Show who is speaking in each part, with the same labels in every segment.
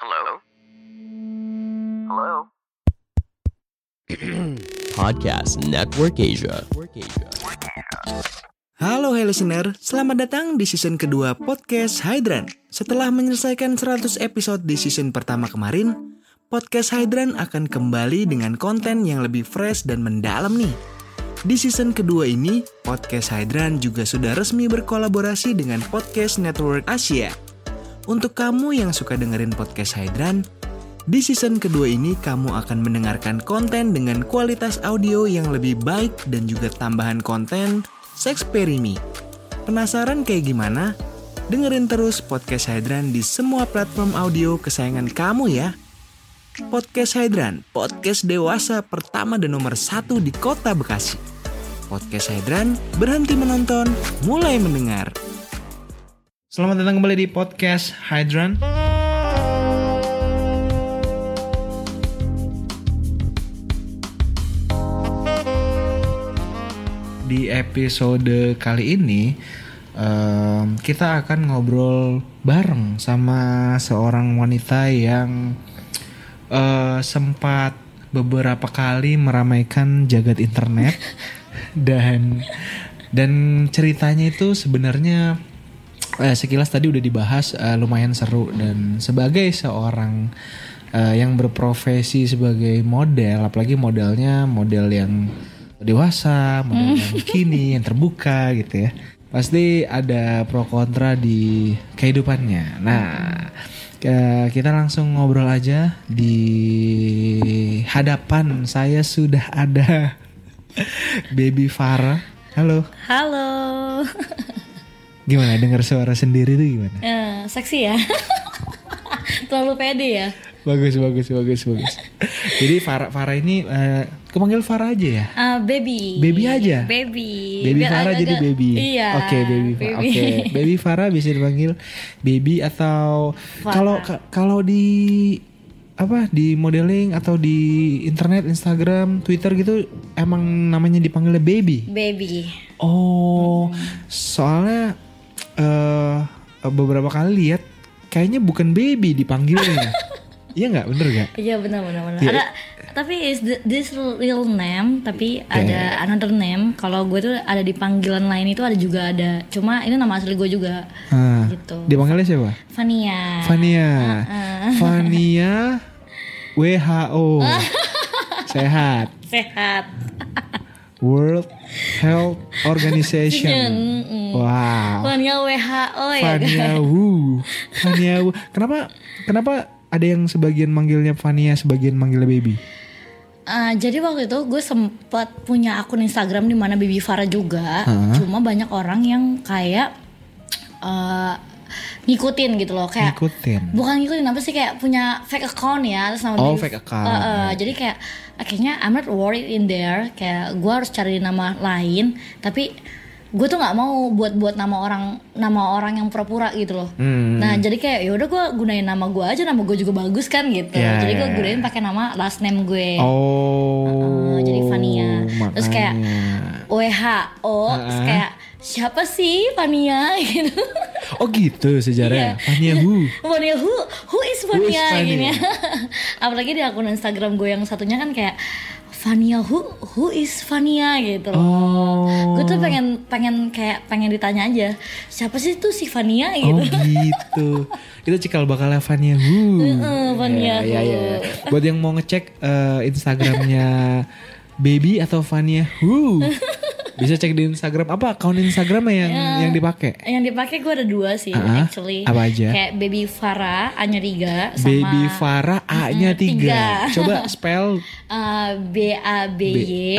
Speaker 1: Hello? Hello?
Speaker 2: Podcast Network Asia.
Speaker 3: Halo hai listener, selamat datang di season kedua podcast Hydran. Setelah menyelesaikan 100 episode di season pertama kemarin, podcast Hydran akan kembali dengan konten yang lebih fresh dan mendalam nih. Di season kedua ini, podcast Hydran juga sudah resmi berkolaborasi dengan podcast Network Asia. Untuk kamu yang suka dengerin podcast Hydran, di season kedua ini kamu akan mendengarkan konten dengan kualitas audio yang lebih baik dan juga tambahan konten Sexperimi. Penasaran kayak gimana? Dengerin terus podcast Hydran di semua platform audio kesayangan kamu ya. Podcast Hydran, podcast dewasa pertama dan nomor satu di kota Bekasi. Podcast Hydran, berhenti menonton, mulai mendengar. Selamat datang kembali di podcast Hydran. Di episode kali ini em, kita akan ngobrol bareng sama seorang wanita yang eh, sempat beberapa kali meramaikan jagat internet dan dan ceritanya itu sebenarnya eh, sekilas tadi udah dibahas eh, lumayan seru dan sebagai seorang eh, yang berprofesi sebagai model apalagi modelnya model yang dewasa model yang kini yang terbuka gitu ya pasti ada pro kontra di kehidupannya nah eh, kita langsung ngobrol aja di hadapan saya sudah ada baby Farah halo
Speaker 4: Halo,
Speaker 3: Gimana dengar suara sendiri tuh gimana?
Speaker 4: Eh, seksi ya? Terlalu pede ya?
Speaker 3: Bagus bagus bagus bagus. Jadi Farah Farah ini eh aku panggil Farah aja ya.
Speaker 4: Ah, baby.
Speaker 3: Baby aja?
Speaker 4: Baby.
Speaker 3: Baby
Speaker 4: Biar
Speaker 3: Farah jadi
Speaker 4: Iya, agak-agak-
Speaker 3: baby.
Speaker 4: Iya.
Speaker 3: Oke baby. Fa- Oke baby Farah bisa dipanggil baby atau kalau ka- kalau di apa di modeling atau di internet Instagram Twitter gitu emang namanya dipanggilnya baby.
Speaker 4: Baby.
Speaker 3: Oh, soalnya eh beberapa kali lihat kayaknya bukan baby dipanggilnya. iya nggak, bener nggak?
Speaker 4: Iya benar benar benar.
Speaker 3: Iya.
Speaker 4: Ada tapi is the- this real name tapi ada another name. Kalau gue tuh ada di panggilan lain itu ada juga ada. Cuma ini nama asli gue juga.
Speaker 3: Ah,
Speaker 4: Gitu.
Speaker 3: Dipanggilnya siapa?
Speaker 4: Fania.
Speaker 3: Fania. Fania WHO. Sehat.
Speaker 4: Sehat.
Speaker 3: World Health Organization. Wow.
Speaker 4: Fania WHO ya.
Speaker 3: Fania Wu. Fania Wu. Kenapa kenapa ada yang sebagian manggilnya Fania, sebagian manggilnya baby?
Speaker 4: Eh, jadi waktu itu gue sempat punya akun Instagram di mana Bibi Farah juga. Cuma banyak orang yang kayak eh, ngikutin gitu loh, kayak
Speaker 3: Ikutin.
Speaker 4: bukan ngikutin apa sih kayak punya fake account ya terus nama
Speaker 3: Oh,
Speaker 4: Bibi-
Speaker 3: fake account.
Speaker 4: Eh, eh, jadi kayak akhirnya I'm not worried in there kayak gue harus cari nama lain tapi gue tuh nggak mau buat buat nama orang nama orang yang pura-pura gitu loh
Speaker 3: Hmm.
Speaker 4: nah jadi kayak ya udah gue gunain nama gue aja nama gue juga bagus kan gitu
Speaker 3: Ya,
Speaker 4: jadi
Speaker 3: ya,
Speaker 4: gue
Speaker 3: ya.
Speaker 4: gunain pakai nama last name gue
Speaker 3: Oh.
Speaker 4: Heeh, jadi Fania. Terus kayak
Speaker 3: makanya.
Speaker 4: WHO terus
Speaker 3: Heeh.
Speaker 4: kayak siapa sih Fania gitu.
Speaker 3: Oh gitu sejarahnya.
Speaker 4: Iya.
Speaker 3: Fania Bu.
Speaker 4: Fania who who is Fania
Speaker 3: Fania?
Speaker 4: gini ya. Apalagi di akun Instagram gue yang satunya kan kayak Fania who who is Fania gitu loh.
Speaker 3: Oh.
Speaker 4: Gue tuh pengen pengen kayak pengen ditanya aja siapa sih tuh si Fania
Speaker 3: Oh
Speaker 4: gitu.
Speaker 3: gitu. Itu cikal bakal ya, Fania Bu.
Speaker 4: Heeh, Fania
Speaker 3: Ya, ya,
Speaker 4: Hu.
Speaker 3: ya, ya. Buat yang mau ngecek eh, Instagramnya Baby atau Fania Hu. Bisa cek di Instagram apa akun Instagramnya yang
Speaker 4: Ya.
Speaker 3: yang dipakai?
Speaker 4: Yang dipakai gue ada dua sih
Speaker 3: Heeh.
Speaker 4: actually.
Speaker 3: Apa aja?
Speaker 4: Kayak Baby Farah, Anya Riga sama
Speaker 3: Baby Farah A-nya tiga.
Speaker 4: tiga.
Speaker 3: Coba spell
Speaker 4: Uh, B A B Y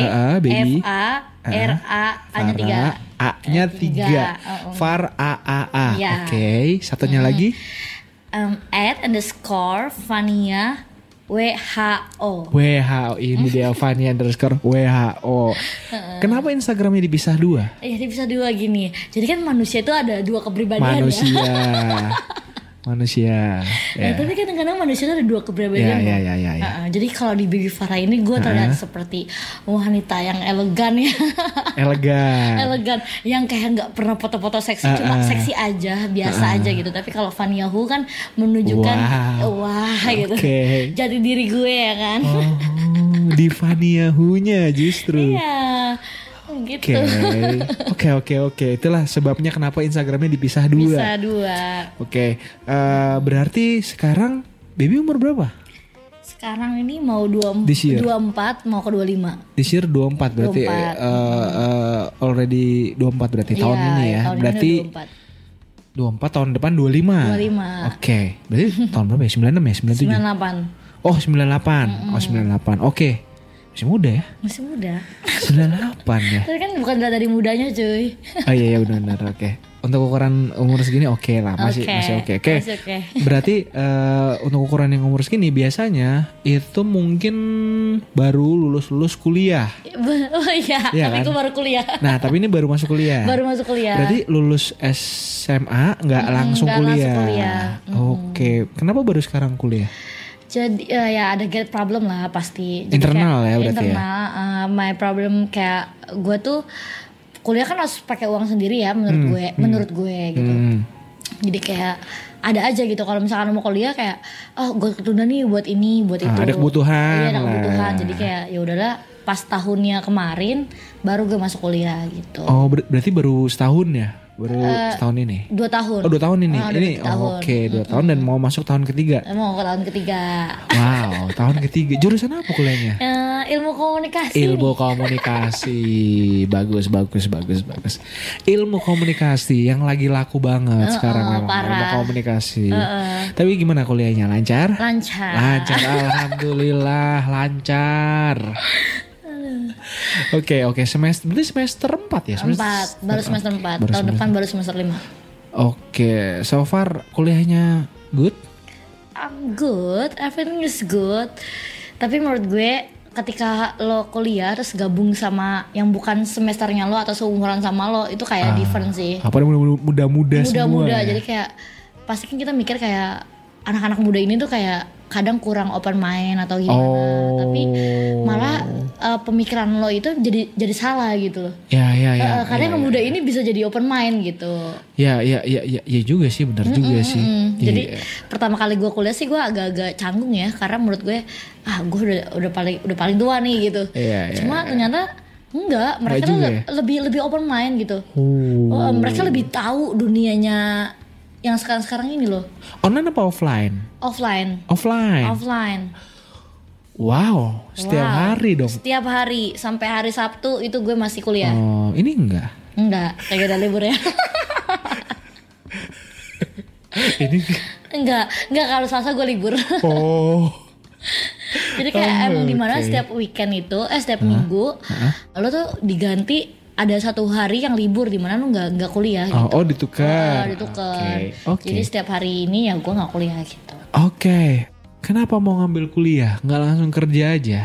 Speaker 3: B- uh-uh, baby.
Speaker 4: F A R A hanya
Speaker 3: Farah,
Speaker 4: tiga
Speaker 3: A-nya tiga.
Speaker 4: Tiga, oh, oh.
Speaker 3: Far A A A.
Speaker 4: Iya.
Speaker 3: Oke, satunya lagi.
Speaker 4: Um, at underscore Vania WHO.
Speaker 3: WHO ini dia Fania underscore WHO. Kenapa Instagramnya dipisah dua?
Speaker 4: Iya, dia bisa dua gini. Jadi kan manusia itu ada dua kepribadian ya.
Speaker 3: Manusia, manusia. Ya.
Speaker 4: Nah, tapi kadang-kadang manusia itu ada dua
Speaker 3: Ya, ya,
Speaker 4: kepribadian. Bang.
Speaker 3: ya, ya, Uh-uh. ya.
Speaker 4: Heeh, jadi kalau di Bibi Farah ini gue terlihat seperti wanita yang elegan ya.
Speaker 3: Elegan.
Speaker 4: elegan yang kayak nggak pernah foto-foto seksi
Speaker 3: Ah,
Speaker 4: cuma
Speaker 3: ah.
Speaker 4: seksi aja
Speaker 3: Eh,
Speaker 4: biasa aja gitu tapi kalau Van Yahu kan menunjukkan
Speaker 3: Wow.
Speaker 4: wah gitu
Speaker 3: Oke.
Speaker 4: jadi diri gue ya kan
Speaker 3: Oh, di Fania Hunya justru.
Speaker 4: iya gitu
Speaker 3: Oke, oke, oke, oke. Itulah sebabnya kenapa Instagramnya dipisah
Speaker 4: bisa
Speaker 3: dua.
Speaker 4: dua
Speaker 3: Oke, eh, berarti sekarang baby umur berapa?
Speaker 4: sekarang ini mau dua
Speaker 3: This year.
Speaker 4: dua empat mau ke dua lima
Speaker 3: This year 24 berarti
Speaker 4: 24.
Speaker 3: eh, eh, already 24 berarti tahun ini ya.
Speaker 4: Iya, tahun
Speaker 3: berarti
Speaker 4: ini
Speaker 3: 24
Speaker 4: udah
Speaker 3: tahun depan 25.
Speaker 4: 25.
Speaker 3: Oke. Berarti tahun berapa ya? 96 ya?
Speaker 4: 24 delapan
Speaker 3: 97. Oh, 98. Oh, 98. Oke. Masih muda ya?
Speaker 4: masih muda
Speaker 3: 98 ya.
Speaker 4: tapi kan bukan dilihat dari mudanya cuy
Speaker 3: Oh iya iya benar benar oke. Untuk ukuran umur segini oke lah, masih
Speaker 4: Oke,
Speaker 3: masih oke.
Speaker 4: masih oke.
Speaker 3: Berarti eh, untuk ukuran yang umur segini biasanya itu mungkin baru lulus-lulus kuliah.
Speaker 4: oh iya
Speaker 3: Iya
Speaker 4: tapi
Speaker 3: kan?
Speaker 4: gue baru kuliah
Speaker 3: Nah, tapi ini baru masuk kuliah.
Speaker 4: baru masuk kuliah
Speaker 3: Berarti lulus SMA nggak langsung
Speaker 4: nggak langsung
Speaker 3: kuliah.
Speaker 4: kuliah.
Speaker 3: Oke, kenapa baru sekarang kuliah?
Speaker 4: Jadi eh, ya ada gap problem lah pasti. Jadi
Speaker 3: Internal ya berarti ya?
Speaker 4: internal, eh, my problem kayak gue tuh kuliah kan harus pakai uang sendiri ya menurut gue, menurut gue gitu.
Speaker 3: Hmm.
Speaker 4: Jadi kayak ada aja gitu kalau misalkan mau kuliah kayak oh gue ketunda nih buat ini buat
Speaker 3: Ah,
Speaker 4: itu.
Speaker 3: ada kebutuhan
Speaker 4: Iya ada kebutuhan.
Speaker 3: lah.
Speaker 4: Jadi kayak ya udahlah pas tahunnya kemarin baru gue masuk kuliah gitu.
Speaker 3: Oh, ber- berarti baru setahun ya? Baru
Speaker 4: Eh,
Speaker 3: setahun ini.
Speaker 4: Dua tahun.
Speaker 3: Oh, dua tahun ini.
Speaker 4: Ah, udah
Speaker 3: ini
Speaker 4: dua
Speaker 3: oh,
Speaker 4: tahun.
Speaker 3: oke, dua tahun dan mau masuk tahun ketiga.
Speaker 4: Mau ke tahun ketiga.
Speaker 3: Wow, tahun ketiga. Jurusan apa kuliahnya?
Speaker 4: Eh, ilmu komunikasi.
Speaker 3: Ilmu komunikasi. bagus, bagus, bagus, bagus. Ilmu komunikasi yang lagi laku banget sekarang memang ilmu
Speaker 4: parah.
Speaker 3: komunikasi. Tapi gimana kuliahnya? Lancar?
Speaker 4: lancar.
Speaker 3: Lancar, alhamdulillah lancar. Oke, oke, semester berarti semester 4 ya? Semester-
Speaker 4: empat baru semester empat
Speaker 3: Baru
Speaker 4: tahun
Speaker 3: semester-
Speaker 4: depan baru semester lima
Speaker 3: Oke, so far kuliahnya good?
Speaker 4: I'm good everything is good tapi menurut gue ketika lo kuliah terus gabung sama yang bukan semesternya lo atau seumuran sama lo itu kayak different sih
Speaker 3: Iya. Apa namanya, muda-muda Ah. semua?
Speaker 4: muda-muda
Speaker 3: ya?
Speaker 4: jadi kayak pasti kan kita mikir kayak anak-anak muda ini tuh kayak kadang kurang open mind atau gimana
Speaker 3: Oh.
Speaker 4: tapi malah eh, pemikiran lo itu jadi jadi salah gitu loh
Speaker 3: Ya, ya, ya.
Speaker 4: Eh,
Speaker 3: ya,
Speaker 4: kadang yang
Speaker 3: ya.
Speaker 4: muda ini bisa jadi open mind gitu
Speaker 3: Ya, ya, ya, ya, ya juga sih, benar juga sih.
Speaker 4: Mm, Jadi
Speaker 3: Iya.
Speaker 4: pertama kali gue kuliah sih gue agak-agak canggung ya karena menurut gue ah gue udah udah paling udah paling tua nih gitu.
Speaker 3: Iya, iya,
Speaker 4: Cuma ternyata enggak mereka
Speaker 3: Enggak
Speaker 4: tuh
Speaker 3: juga ya?
Speaker 4: le- lebih lebih open mind gitu.
Speaker 3: Oh.
Speaker 4: Oh, mereka lebih tahu dunianya yang sekarang-sekarang ini loh
Speaker 3: Online apa offline?
Speaker 4: offline
Speaker 3: Offline.
Speaker 4: offline
Speaker 3: wow, Eh, setiap
Speaker 4: Wow.
Speaker 3: hari dong.
Speaker 4: setiap hari sampai hari Sabtu itu gue masih kuliah.
Speaker 3: Oh, ini enggak.
Speaker 4: Enggak kayak ada libur ya.
Speaker 3: ini
Speaker 4: enggak enggak kalau Selasa gue libur.
Speaker 3: oh.
Speaker 4: Jadi kayak
Speaker 3: Oh,
Speaker 4: emang dimana
Speaker 3: oke.
Speaker 4: setiap weekend itu, eh setiap minggu, lo tuh diganti ada satu hari yang libur dimana lo nggak nggak kuliah.
Speaker 3: Oh,
Speaker 4: gitu.
Speaker 3: oh
Speaker 4: Eh,
Speaker 3: ditukar.
Speaker 4: ditukar.
Speaker 3: Oke. Oke.
Speaker 4: Jadi setiap hari ini ya gue nggak kuliah gitu.
Speaker 3: Oke. Kenapa mau ngambil kuliah? Nggak langsung kerja aja?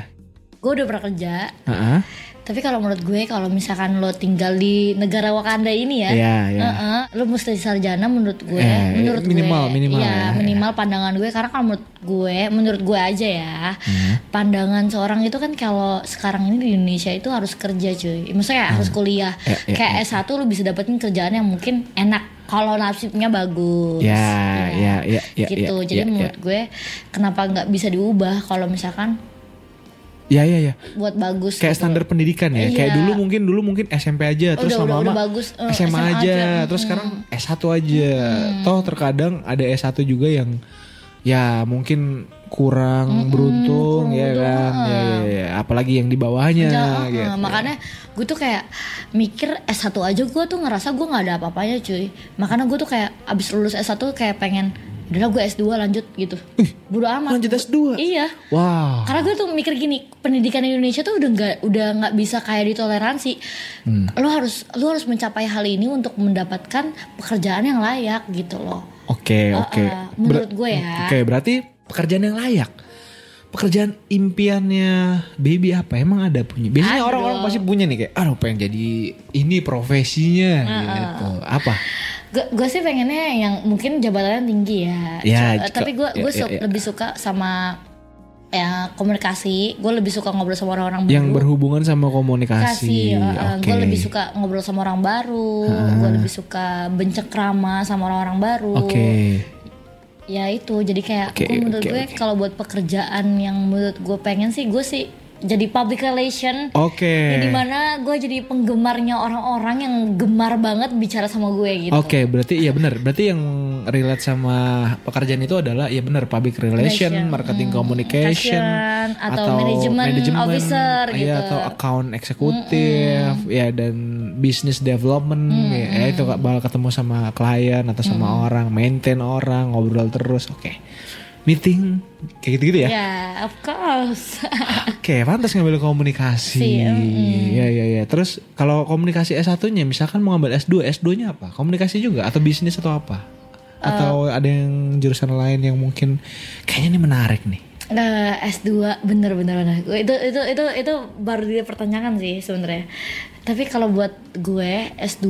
Speaker 4: Gue udah pernah kerja,
Speaker 3: Heeh.
Speaker 4: tapi kalau menurut gue kalau misalkan lo tinggal di negara Wakanda ini ya.
Speaker 3: Iya, iya.
Speaker 4: eh, lo mesti sarjana menurut gue,
Speaker 3: Eh,
Speaker 4: menurut
Speaker 3: minimal,
Speaker 4: gue,
Speaker 3: minimal
Speaker 4: Iya,
Speaker 3: ya,
Speaker 4: minimal pandangan gue karena kalau menurut gue, menurut gue aja ya,
Speaker 3: Hmm.
Speaker 4: pandangan seorang itu kan kalau sekarang ini di Indonesia itu harus kerja cuy, maksudnya harus kuliah,
Speaker 3: Ya, ya,
Speaker 4: kayak S1 lo bisa dapetin kerjaan yang mungkin enak kalau nasibnya bagus,
Speaker 3: Ya,
Speaker 4: Iya.
Speaker 3: ya, ya, ya,
Speaker 4: gitu,
Speaker 3: ya,
Speaker 4: jadi
Speaker 3: ya,
Speaker 4: menurut gue kenapa nggak bisa diubah kalau misalkan
Speaker 3: Ya, ya, ya.
Speaker 4: buat bagus,
Speaker 3: Kayak
Speaker 4: gitu.
Speaker 3: standar pendidikan ya.
Speaker 4: Iya.
Speaker 3: Kayak dulu mungkin dulu mungkin SMP aja, terus
Speaker 4: Udah, udah,
Speaker 3: lama-lama
Speaker 4: udah bagus, eh,
Speaker 3: SMA,
Speaker 4: SMA
Speaker 3: aja,
Speaker 4: aja. Hmm.
Speaker 3: terus sekarang S1 aja. Toh terkadang ada S1 juga yang ya mungkin
Speaker 4: Hmm,
Speaker 3: kurang beruntung ya kan. Ya, ya, ya. apalagi yang di bawahnya
Speaker 4: Jangan,
Speaker 3: gitu.
Speaker 4: eh, ah. makanya gue tuh kayak mikir S1 aja gue tuh ngerasa gue nggak ada apa-apanya cuy makanya gue tuh kayak abis lulus S1 kayak pengen udahlah gue S2 lanjut gitu bodo amat
Speaker 3: lanjut S2?
Speaker 4: iya
Speaker 3: Wow.
Speaker 4: karena gue tuh mikir gini pendidikan Indonesia tuh udah nggak udah nggak bisa kayak ditoleransi
Speaker 3: Hmm.
Speaker 4: lo harus lo harus mencapai hal ini untuk mendapatkan pekerjaan yang layak gitu loh
Speaker 3: Oke,
Speaker 4: Uh-uh,
Speaker 3: oke.
Speaker 4: menurut
Speaker 3: Ber-
Speaker 4: gue ya.
Speaker 3: Oke, berarti pekerjaan yang layak. Pekerjaan impiannya baby apa? Emang ada punya? Biasanya
Speaker 4: Ada
Speaker 3: orang-orang
Speaker 4: dong.
Speaker 3: pasti punya nih kayak, aduh pengen jadi ini profesinya
Speaker 4: Ah,
Speaker 3: gitu. Apa?
Speaker 4: gue gue sih pengennya yang mungkin jabatannya tinggi ya,
Speaker 3: Ya,
Speaker 4: Cuma-
Speaker 3: jika-
Speaker 4: tapi gue
Speaker 3: ya,
Speaker 4: gue
Speaker 3: ya,
Speaker 4: su-
Speaker 3: ya.
Speaker 4: lebih suka sama ya komunikasi gue lebih suka ngobrol sama orang-orang
Speaker 3: Yang
Speaker 4: baru.
Speaker 3: berhubungan sama komunikasi.
Speaker 4: komunikasi uh,
Speaker 3: Oke.
Speaker 4: gue lebih suka ngobrol sama orang baru gue lebih suka bencekrama sama orang-orang baru
Speaker 3: Oke.
Speaker 4: ya itu jadi kayak
Speaker 3: Oke,
Speaker 4: gue menurut
Speaker 3: oke,
Speaker 4: gue
Speaker 3: oke.
Speaker 4: kalau buat pekerjaan yang menurut gue pengen sih gue sih jadi public relation
Speaker 3: Oke.
Speaker 4: Di dimana gue jadi penggemarnya orang-orang yang gemar banget bicara sama gue gitu
Speaker 3: Oke, berarti iya benar. Berarti yang relate sama pekerjaan itu adalah ya benar public relation,
Speaker 4: Relation,
Speaker 3: marketing communication
Speaker 4: Passion, atau management
Speaker 3: management,
Speaker 4: officer
Speaker 3: iya,
Speaker 4: gitu.
Speaker 3: atau account eksekutif ya dan business development ya, ya, itu Kak, bakal ketemu sama klien atau sama orang, maintain orang, ngobrol terus. Oke. Meeting kayak gitu-gitu ya.
Speaker 4: ya of course
Speaker 3: Oke, pantas ngambil komunikasi.
Speaker 4: Sih,
Speaker 3: Iya, iya, iya. Terus kalau komunikasi S1-nya misalkan mau ngambil S2, S2-nya apa? Komunikasi juga atau bisnis atau apa? Atau
Speaker 4: Eh.
Speaker 3: ada yang jurusan lain yang mungkin kayaknya ini menarik nih.
Speaker 4: Nah, S2 bener bener bener. Gue Itu itu itu itu baru dia pertanyaan sih sebenarnya. Tapi kalau buat gue S2,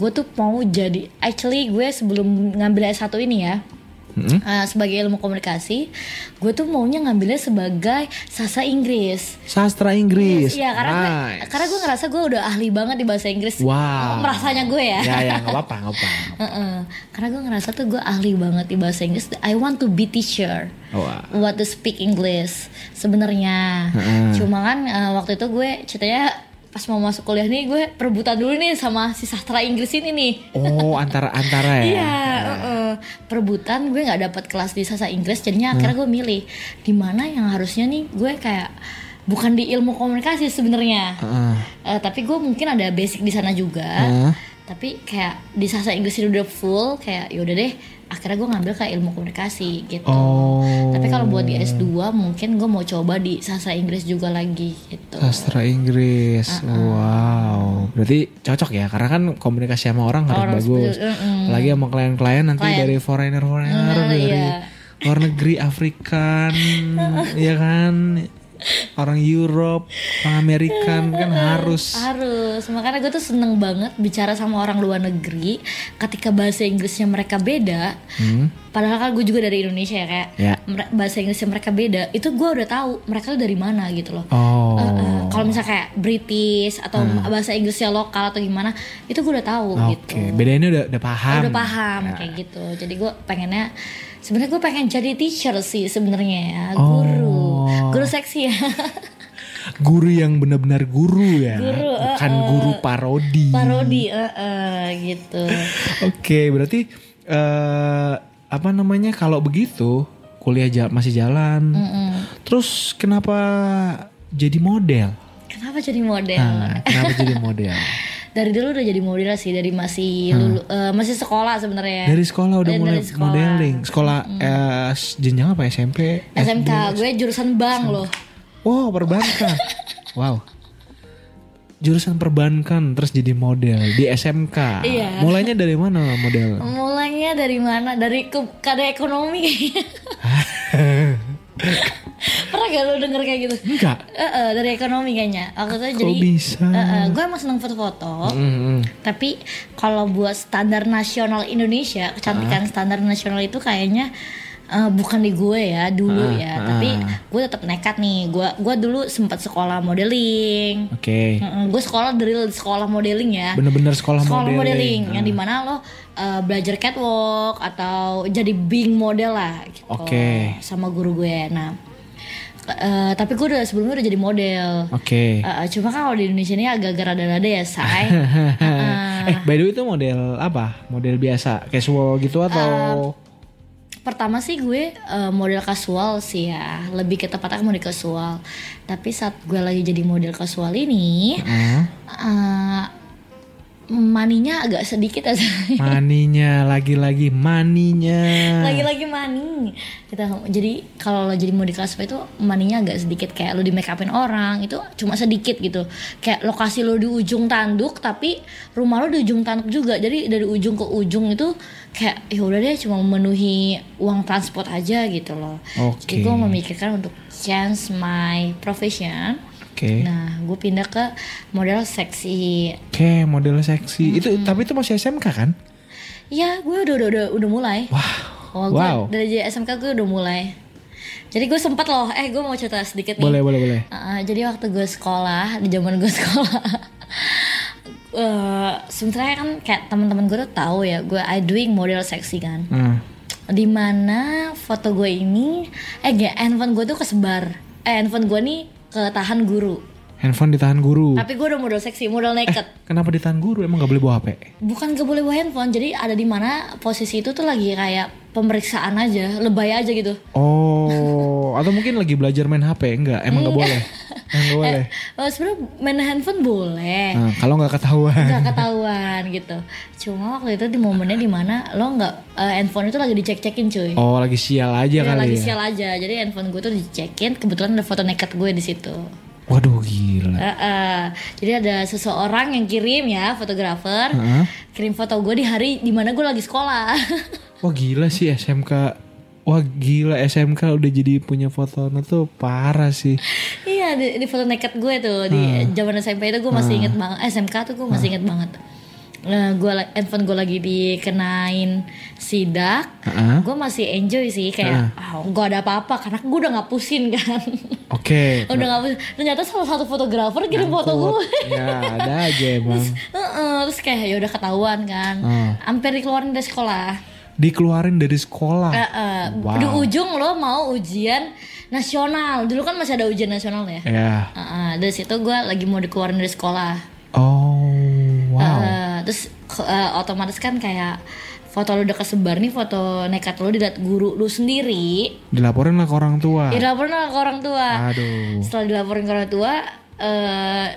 Speaker 4: gue tuh mau jadi actually gue sebelum ngambil S1 ini ya.
Speaker 3: Mm-hmm.
Speaker 4: eh, sebagai ilmu komunikasi, gue tuh maunya ngambilnya sebagai sastra Inggris.
Speaker 3: Sastra Inggris.
Speaker 4: Iya, karena gue,
Speaker 3: Nice.
Speaker 4: karena gue ngerasa gue udah ahli banget di bahasa Inggris.
Speaker 3: Wow.
Speaker 4: Merasanya gue ya.
Speaker 3: Ya, ya, enggak apa-apa, enggak apa-apa.
Speaker 4: Heeh. Karena gue ngerasa tuh gue ahli banget di bahasa Inggris. I want to be teacher.
Speaker 3: Wah.
Speaker 4: Want to speak English sebenarnya.
Speaker 3: Heeh.
Speaker 4: Cuma kan eh, waktu itu gue ceritanya pas mau masuk kuliah nih gue perebutan dulu nih sama si sastra Inggris ini nih.
Speaker 3: Oh, antara-antara ya.
Speaker 4: Iya, heeh. perebutan gue nggak dapat kelas di sastra Inggris, jadinya akhirnya gue milih di mana yang harusnya nih gue kayak bukan di ilmu komunikasi sebenarnya,
Speaker 3: Heeh.
Speaker 4: Eh, tapi gue mungkin ada basic di sana juga.
Speaker 3: Heeh.
Speaker 4: Tapi kayak di sastra Inggris itu udah full, kayak yaudah deh, akhirnya gue ngambil kayak ilmu komunikasi gitu.
Speaker 3: Oh.
Speaker 4: Tapi kalau buat di S2 mungkin gue mau coba di sastra Inggris juga lagi gitu.
Speaker 3: Sastra Inggris,
Speaker 4: Ah,
Speaker 3: wow. Berarti cocok ya, karena kan komunikasi sama orang harus
Speaker 4: Orang
Speaker 3: bagus.
Speaker 4: seperti- mm-mm.
Speaker 3: Lagi sama klien-klien nanti
Speaker 4: Klien.
Speaker 3: dari foreigner foreigner
Speaker 4: Ah,
Speaker 3: dari
Speaker 4: iya.
Speaker 3: luar negeri, Afrikan, ya kan, orang Europe, orang Amerikan kan harus.
Speaker 4: Harus, makanya gue tuh seneng banget bicara sama orang luar negeri ketika bahasa Inggrisnya mereka beda. Padahal kan gue juga dari Indonesia ya kayak
Speaker 3: Hmm. Ya.
Speaker 4: mere- bahasa Inggrisnya mereka beda. Itu gue udah tahu mereka tuh dari mana gitu loh.
Speaker 3: Oh. Hmm.
Speaker 4: Eh, eh, Kalau misalnya kayak British atau bahasa Inggrisnya lokal atau gimana, itu gue udah tahu gitu.
Speaker 3: Oke, bedanya udah udah paham.
Speaker 4: Udah paham
Speaker 3: Ya.
Speaker 4: kayak gitu. Jadi gue pengennya sebenarnya gue pengen jadi teacher sih sebenarnya ya,
Speaker 3: Oh.
Speaker 4: guru. Guru seksi ya.
Speaker 3: Guru yang benar-benar guru ya,
Speaker 4: Guru, eh,
Speaker 3: bukan guru parodi.
Speaker 4: Parodi eh, eh, gitu.
Speaker 3: Oke, berarti eh apa namanya kalau begitu kuliah ja- masih jalan. Terus kenapa jadi model?
Speaker 4: Kenapa jadi model?
Speaker 3: Nah, kenapa jadi model?
Speaker 4: Dari dulu udah jadi model sih, dari masih lulu- eh, masih sekolah sebenarnya.
Speaker 3: Ah. Dari sekolah udah
Speaker 4: Dari-
Speaker 3: mulai
Speaker 4: dari sekolah.
Speaker 3: modeling. Sekolah eh, s- jenjang apa SMP?
Speaker 4: SMK,
Speaker 3: Eh,
Speaker 4: gue jurusan bank loh.
Speaker 3: Wow, perbankan. wow. Jurusan perbankan terus jadi model di SMK.
Speaker 4: Iya. Mm.
Speaker 3: Mulainya dari mana model?
Speaker 4: Mulainya dari mana? Dari ke- kada ekonomi. Pernah gak lo denger kayak gitu?
Speaker 3: Enggak.
Speaker 4: Eh, eh, dari ekonomi kayaknya. Aku tuh
Speaker 3: Kok
Speaker 4: jadi
Speaker 3: bisa?
Speaker 4: Eh, eh, gue emang seneng foto-foto.
Speaker 3: Mm-mm.
Speaker 4: Tapi kalau buat standar nasional Indonesia,
Speaker 3: Ah.
Speaker 4: kecantikan standar nasional itu kayaknya eh, bukan di gue
Speaker 3: Ah,
Speaker 4: ya dulu ya. Tapi gue tetap nekat nih. Gue gue dulu sempat sekolah modeling.
Speaker 3: Oke.
Speaker 4: Mm-mm, gue sekolah dari sekolah modeling ya.
Speaker 3: Bener-bener sekolah,
Speaker 4: Mm. sekolah modeling,
Speaker 3: modeling. Ah.
Speaker 4: yang dimana lo eh, belajar catwalk atau jadi bing model lah. Gitu,
Speaker 3: Oke.
Speaker 4: Sama guru gue. Nah, ke- eh, tapi gue udah sebelumnya udah jadi model.
Speaker 3: Oke.
Speaker 4: Eh, eh, cuma kan kalau di Indonesia ini agak-agak rada-rada ya, say.
Speaker 3: eh by the way itu model apa model biasa casual gitu atau
Speaker 4: pertama sih gue eh, model casual sih ya lebih ke tepatnya model casual tapi saat gue lagi jadi model casual ini
Speaker 3: Heeh.
Speaker 4: eh, maninya agak sedikit aja
Speaker 3: Maninya lagi-lagi maninya.
Speaker 4: lagi-lagi
Speaker 3: Hmm.
Speaker 4: mani kita jadi kalau lo jadi mau di kelas itu maninya agak sedikit kayak lo di make upin orang itu cuma sedikit gitu kayak lokasi lo di ujung tanduk tapi rumah lo di ujung tanduk juga jadi dari ujung ke ujung itu kayak ya udah deh cuma memenuhi uang transport aja gitu loh
Speaker 3: Oke.
Speaker 4: jadi gue memikirkan untuk change my profession
Speaker 3: Oke.
Speaker 4: nah gue pindah ke model seksi
Speaker 3: Oke, model seksi. Itu tapi itu masih SMK kan?
Speaker 4: Ya, gue udah udah udah, udah mulai.
Speaker 3: Wow.
Speaker 4: Oh, gue
Speaker 3: wow.
Speaker 4: dari jadi SMK gue udah mulai. Jadi gue sempat loh, eh gue mau cerita sedikit nih.
Speaker 3: Boleh, boleh, boleh.
Speaker 4: Uh, jadi waktu gue sekolah, di zaman gue sekolah. eh sebenarnya kan kayak teman-teman gue tuh tahu ya, gue I doing model seksi kan.
Speaker 3: Nah,
Speaker 4: Dimana foto gue ini, eh gak, handphone gue tuh kesebar. Eh handphone gue nih ketahan
Speaker 3: Uh.
Speaker 4: guru.
Speaker 3: handphone ditahan guru.
Speaker 4: Tapi gue udah model seksi, model naked.
Speaker 3: Kenapa ditahan guru? Emang gak boleh bawa HP?
Speaker 4: bukan gak boleh bawa handphone jadi ada di mana posisi itu tuh lagi kayak pemeriksaan aja lebay aja gitu
Speaker 3: Oh, atau mungkin lagi belajar main HP? Enggak, emang gak boleh. Emang gak boleh.
Speaker 4: Eh, sebenarnya main handphone boleh
Speaker 3: Nah, kalau nggak ketahuan.
Speaker 4: nggak ketahuan gitu cuma waktu itu di momennya di mana lo nggak eh, handphone itu lagi dicek cekin cuy
Speaker 3: Oh, lagi sial aja
Speaker 4: Ya,
Speaker 3: kali
Speaker 4: lagi
Speaker 3: ya.
Speaker 4: sial aja jadi handphone gue tuh dicekin kebetulan ada foto nekat gue di situ
Speaker 3: Waduh, gila.
Speaker 4: Eh, eh, jadi ada seseorang yang kirim ya fotografer
Speaker 3: Heeh.
Speaker 4: kirim foto gue di hari dimana gue lagi sekolah
Speaker 3: Wah, gila sih SMK. Wah, gila SMK udah jadi punya foto tuh parah sih.
Speaker 4: Iya di, di foto naked gue tuh di
Speaker 3: Hmm.
Speaker 4: zaman SMP itu gue masih inget banget eh, SMK tuh gue masih inget banget Eh, gue la- handphone gue lagi dikenain sidak
Speaker 3: Heeh.
Speaker 4: gue masih enjoy sih kayak oh, gue ada apa-apa karena gue udah ngapusin kan
Speaker 3: Oke.
Speaker 4: udah ngapusin ternyata salah satu fotografer kirim foto gue
Speaker 3: Ya, ada aja emang.
Speaker 4: Heeh, terus kayak ya udah ketahuan kan
Speaker 3: Hmm.
Speaker 4: hampir dikeluarin dari sekolah
Speaker 3: Dikeluarin dari sekolah.
Speaker 4: Eh, eh, di
Speaker 3: Wow.
Speaker 4: ujung lo mau ujian nasional dulu kan masih ada ujian nasional ya
Speaker 3: Ya.
Speaker 4: Heeh, dari situ gue lagi mau dikeluarin dari sekolah
Speaker 3: Oh, wow.
Speaker 4: Eh, terus ke- eh, otomatis kan kayak foto lu udah kesebar nih foto nekat lu dilihat guru lu sendiri
Speaker 3: Dilaporin lah ke orang tua.
Speaker 4: dilaporin lah ke orang tua
Speaker 3: Ah. Aduh.
Speaker 4: setelah dilaporin ke orang tua eh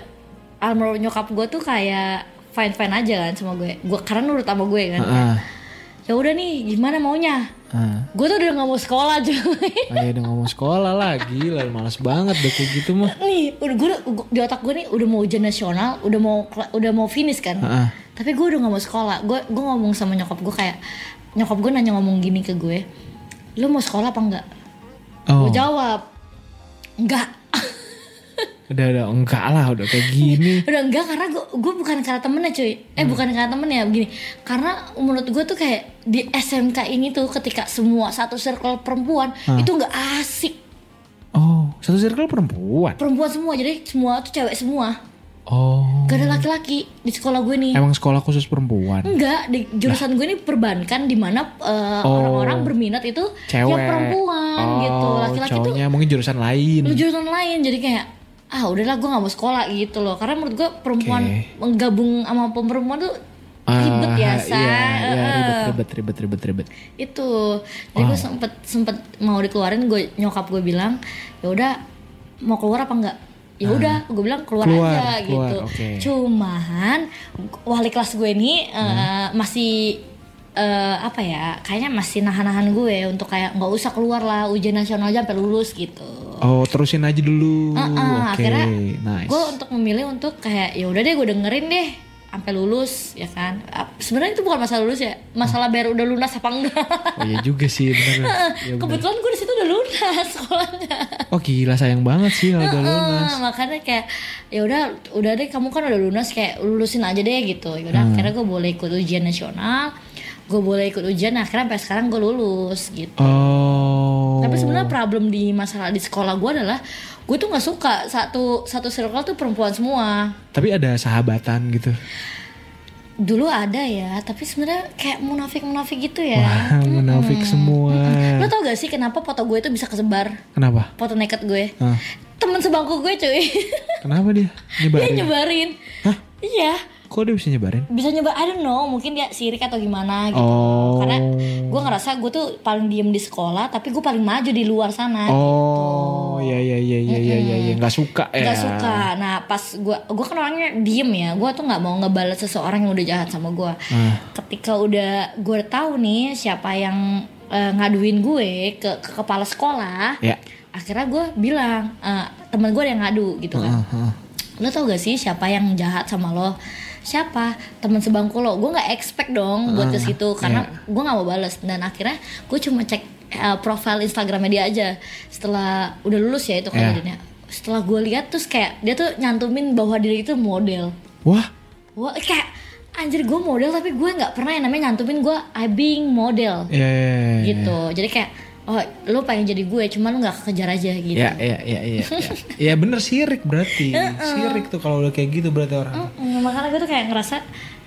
Speaker 4: almarhum nyokap gue tuh kayak fine fine aja kan sama gue gue karena nurut sama gue kan
Speaker 3: Heeh.
Speaker 4: ya udah nih gimana maunya
Speaker 3: Heeh.
Speaker 4: gue tuh udah nggak mau sekolah cuy
Speaker 3: Ayo oh iya, udah ngomong sekolah lah, gila males banget deh kayak gitu mah.
Speaker 4: nih udah gue di otak gue nih udah mau ujian nasional udah mau kela- udah mau finish kan
Speaker 3: Heeh.
Speaker 4: tapi gue udah gak mau sekolah gue gue ngomong sama nyokap gue kayak nyokap gue nanya ngomong gini ke gue lu mau sekolah apa enggak
Speaker 3: Oh,
Speaker 4: gue jawab enggak
Speaker 3: udah udah enggak lah udah kayak gini.
Speaker 4: udah enggak karena gue gue bukan karena temennya cuy eh
Speaker 3: Hmm.
Speaker 4: bukan karena temennya begini karena menurut gue tuh kayak di SMK ini tuh ketika semua satu circle perempuan itu nggak asik
Speaker 3: Oh, satu circle perempuan.
Speaker 4: perempuan semua jadi semua tuh cewek semua
Speaker 3: Oh.
Speaker 4: gak ada laki-laki di sekolah gue nih
Speaker 3: Emang sekolah khusus perempuan.
Speaker 4: Enggak, di jurusan gue ini perbankan di mana eh,
Speaker 3: Oh.
Speaker 4: orang-orang berminat itu
Speaker 3: Cewek.
Speaker 4: yang perempuan
Speaker 3: oh,
Speaker 4: gitu. Laki-laki tuh
Speaker 3: cowoknya mungkin jurusan lain.
Speaker 4: lu jurusan lain jadi kayak ah udahlah gue nggak mau sekolah gitu loh. Karena menurut gue perempuan
Speaker 3: Oke.
Speaker 4: menggabung sama perempuan tuh
Speaker 3: Ah,
Speaker 4: ribet ya, Sa.
Speaker 3: Iya, iya,
Speaker 4: Eh,
Speaker 3: ribet, ribet, ribet, ribet, ribet.
Speaker 4: itu. Jadi
Speaker 3: Oh.
Speaker 4: gue sempet sempet mau dikeluarin gue nyokap gue bilang, "Ya udah mau keluar apa enggak?" Ya udah, gue bilang
Speaker 3: Ah.
Speaker 4: keluar,
Speaker 3: Keluar,
Speaker 4: aja
Speaker 3: keluar,
Speaker 4: gitu.
Speaker 3: oke.
Speaker 4: Cuman wali kelas gue ini eh,
Speaker 3: Hmm.
Speaker 4: masih eh, apa ya? Kayaknya masih nahan-nahan gue untuk kayak nggak usah keluar lah ujian nasional aja sampai lulus gitu.
Speaker 3: Oh, terusin aja dulu.
Speaker 4: Heeh,
Speaker 3: Oke,
Speaker 4: akhirnya
Speaker 3: nice.
Speaker 4: gue untuk memilih untuk kayak ya udah deh gue dengerin deh sampai lulus ya kan Ap- sebenarnya itu bukan masalah lulus ya masalah bayar udah lunas apa enggak
Speaker 3: Oh iya juga sih, bener. Ya, bener.
Speaker 4: kebetulan gue di situ udah lunas sekolahnya
Speaker 3: Oh gila sayang banget sih kalau udah lunas.
Speaker 4: Eh, makanya kayak ya udah udah deh kamu kan udah lunas kayak lulusin aja deh gitu ya udah
Speaker 3: Hmm.
Speaker 4: akhirnya gue boleh ikut ujian nasional gue boleh ikut ujian nah, akhirnya sampai sekarang gue lulus gitu
Speaker 3: Oh.
Speaker 4: Tapi sebenarnya problem di masalah di sekolah gue adalah gue tuh nggak suka satu satu circle tuh perempuan semua.
Speaker 3: Tapi ada sahabatan gitu.
Speaker 4: Dulu ada ya, tapi sebenarnya kayak munafik-munafik gitu ya.
Speaker 3: Wah, munafik semua.
Speaker 4: Lo tau gak sih kenapa foto gue itu bisa kesebar?
Speaker 3: Kenapa?
Speaker 4: Foto naked gue.
Speaker 3: Hah?
Speaker 4: Temen sebangku gue cuy.
Speaker 3: Kenapa dia?
Speaker 4: dia gitu.
Speaker 3: Nyebarin.
Speaker 4: Iya, nyebarin.
Speaker 3: Hah?
Speaker 4: Iya.
Speaker 3: Kok dia bisa nyebarin?
Speaker 4: Bisa nyebar, I don't know, mungkin dia sirik atau gimana gitu.
Speaker 3: Oh.
Speaker 4: Karena gue ngerasa gue tuh paling diem di sekolah, tapi gue paling maju di luar sana.
Speaker 3: Oh, Oh iya iya iya iya iya iya iya. nggak suka ya.
Speaker 4: Gak suka. Nah pas gue, gue kan orangnya diem ya. Gue tuh nggak mau ngebalas seseorang yang udah jahat sama gue.
Speaker 3: Nah.
Speaker 4: Ketika udah gue tahu nih siapa yang eh, ngaduin gue ke, ke kepala sekolah,
Speaker 3: Ya.
Speaker 4: akhirnya gue bilang eh, temen gue ada yang ngadu gitu kan. Lo tau gak sih siapa yang jahat sama lo? Siapa teman sebangku lo? Gue nggak expect
Speaker 3: Ah,
Speaker 4: dong buat
Speaker 3: iya.
Speaker 4: ke situ karena gue nggak mau balas dan akhirnya gue cuma cek eh, profile Instagramnya dia aja setelah udah lulus ya itu kan
Speaker 3: Iya.
Speaker 4: jadinya. Setelah gue lihat terus kayak dia tuh nyantumin bahwa diri itu model.
Speaker 3: Wah.
Speaker 4: Wah kayak anjir gue model tapi gue nggak pernah yang namanya nyantumin gue I being model
Speaker 3: Iya. iya, iya, iya.
Speaker 4: gitu. Jadi kayak oh lo pengen jadi gue cuman lo nggak kejar aja gitu.
Speaker 3: Ya ya ya ya. Ya, ya bener sirik berarti. Sirik tuh kalau udah kayak gitu berarti orang.
Speaker 4: Mm, makanya gue tuh kayak ngerasa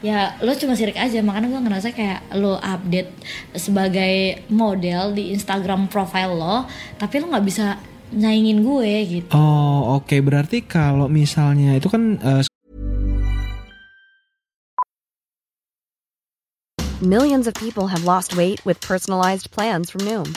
Speaker 4: ya lo cuma sirik aja makanya gue ngerasa kayak lo update sebagai model di Instagram profile lo tapi lo nggak bisa nyaingin gue gitu
Speaker 3: Oh, oke. Berarti kalau misalnya itu kan eh,
Speaker 1: Millions of people have lost weight with personalized plans from Noom,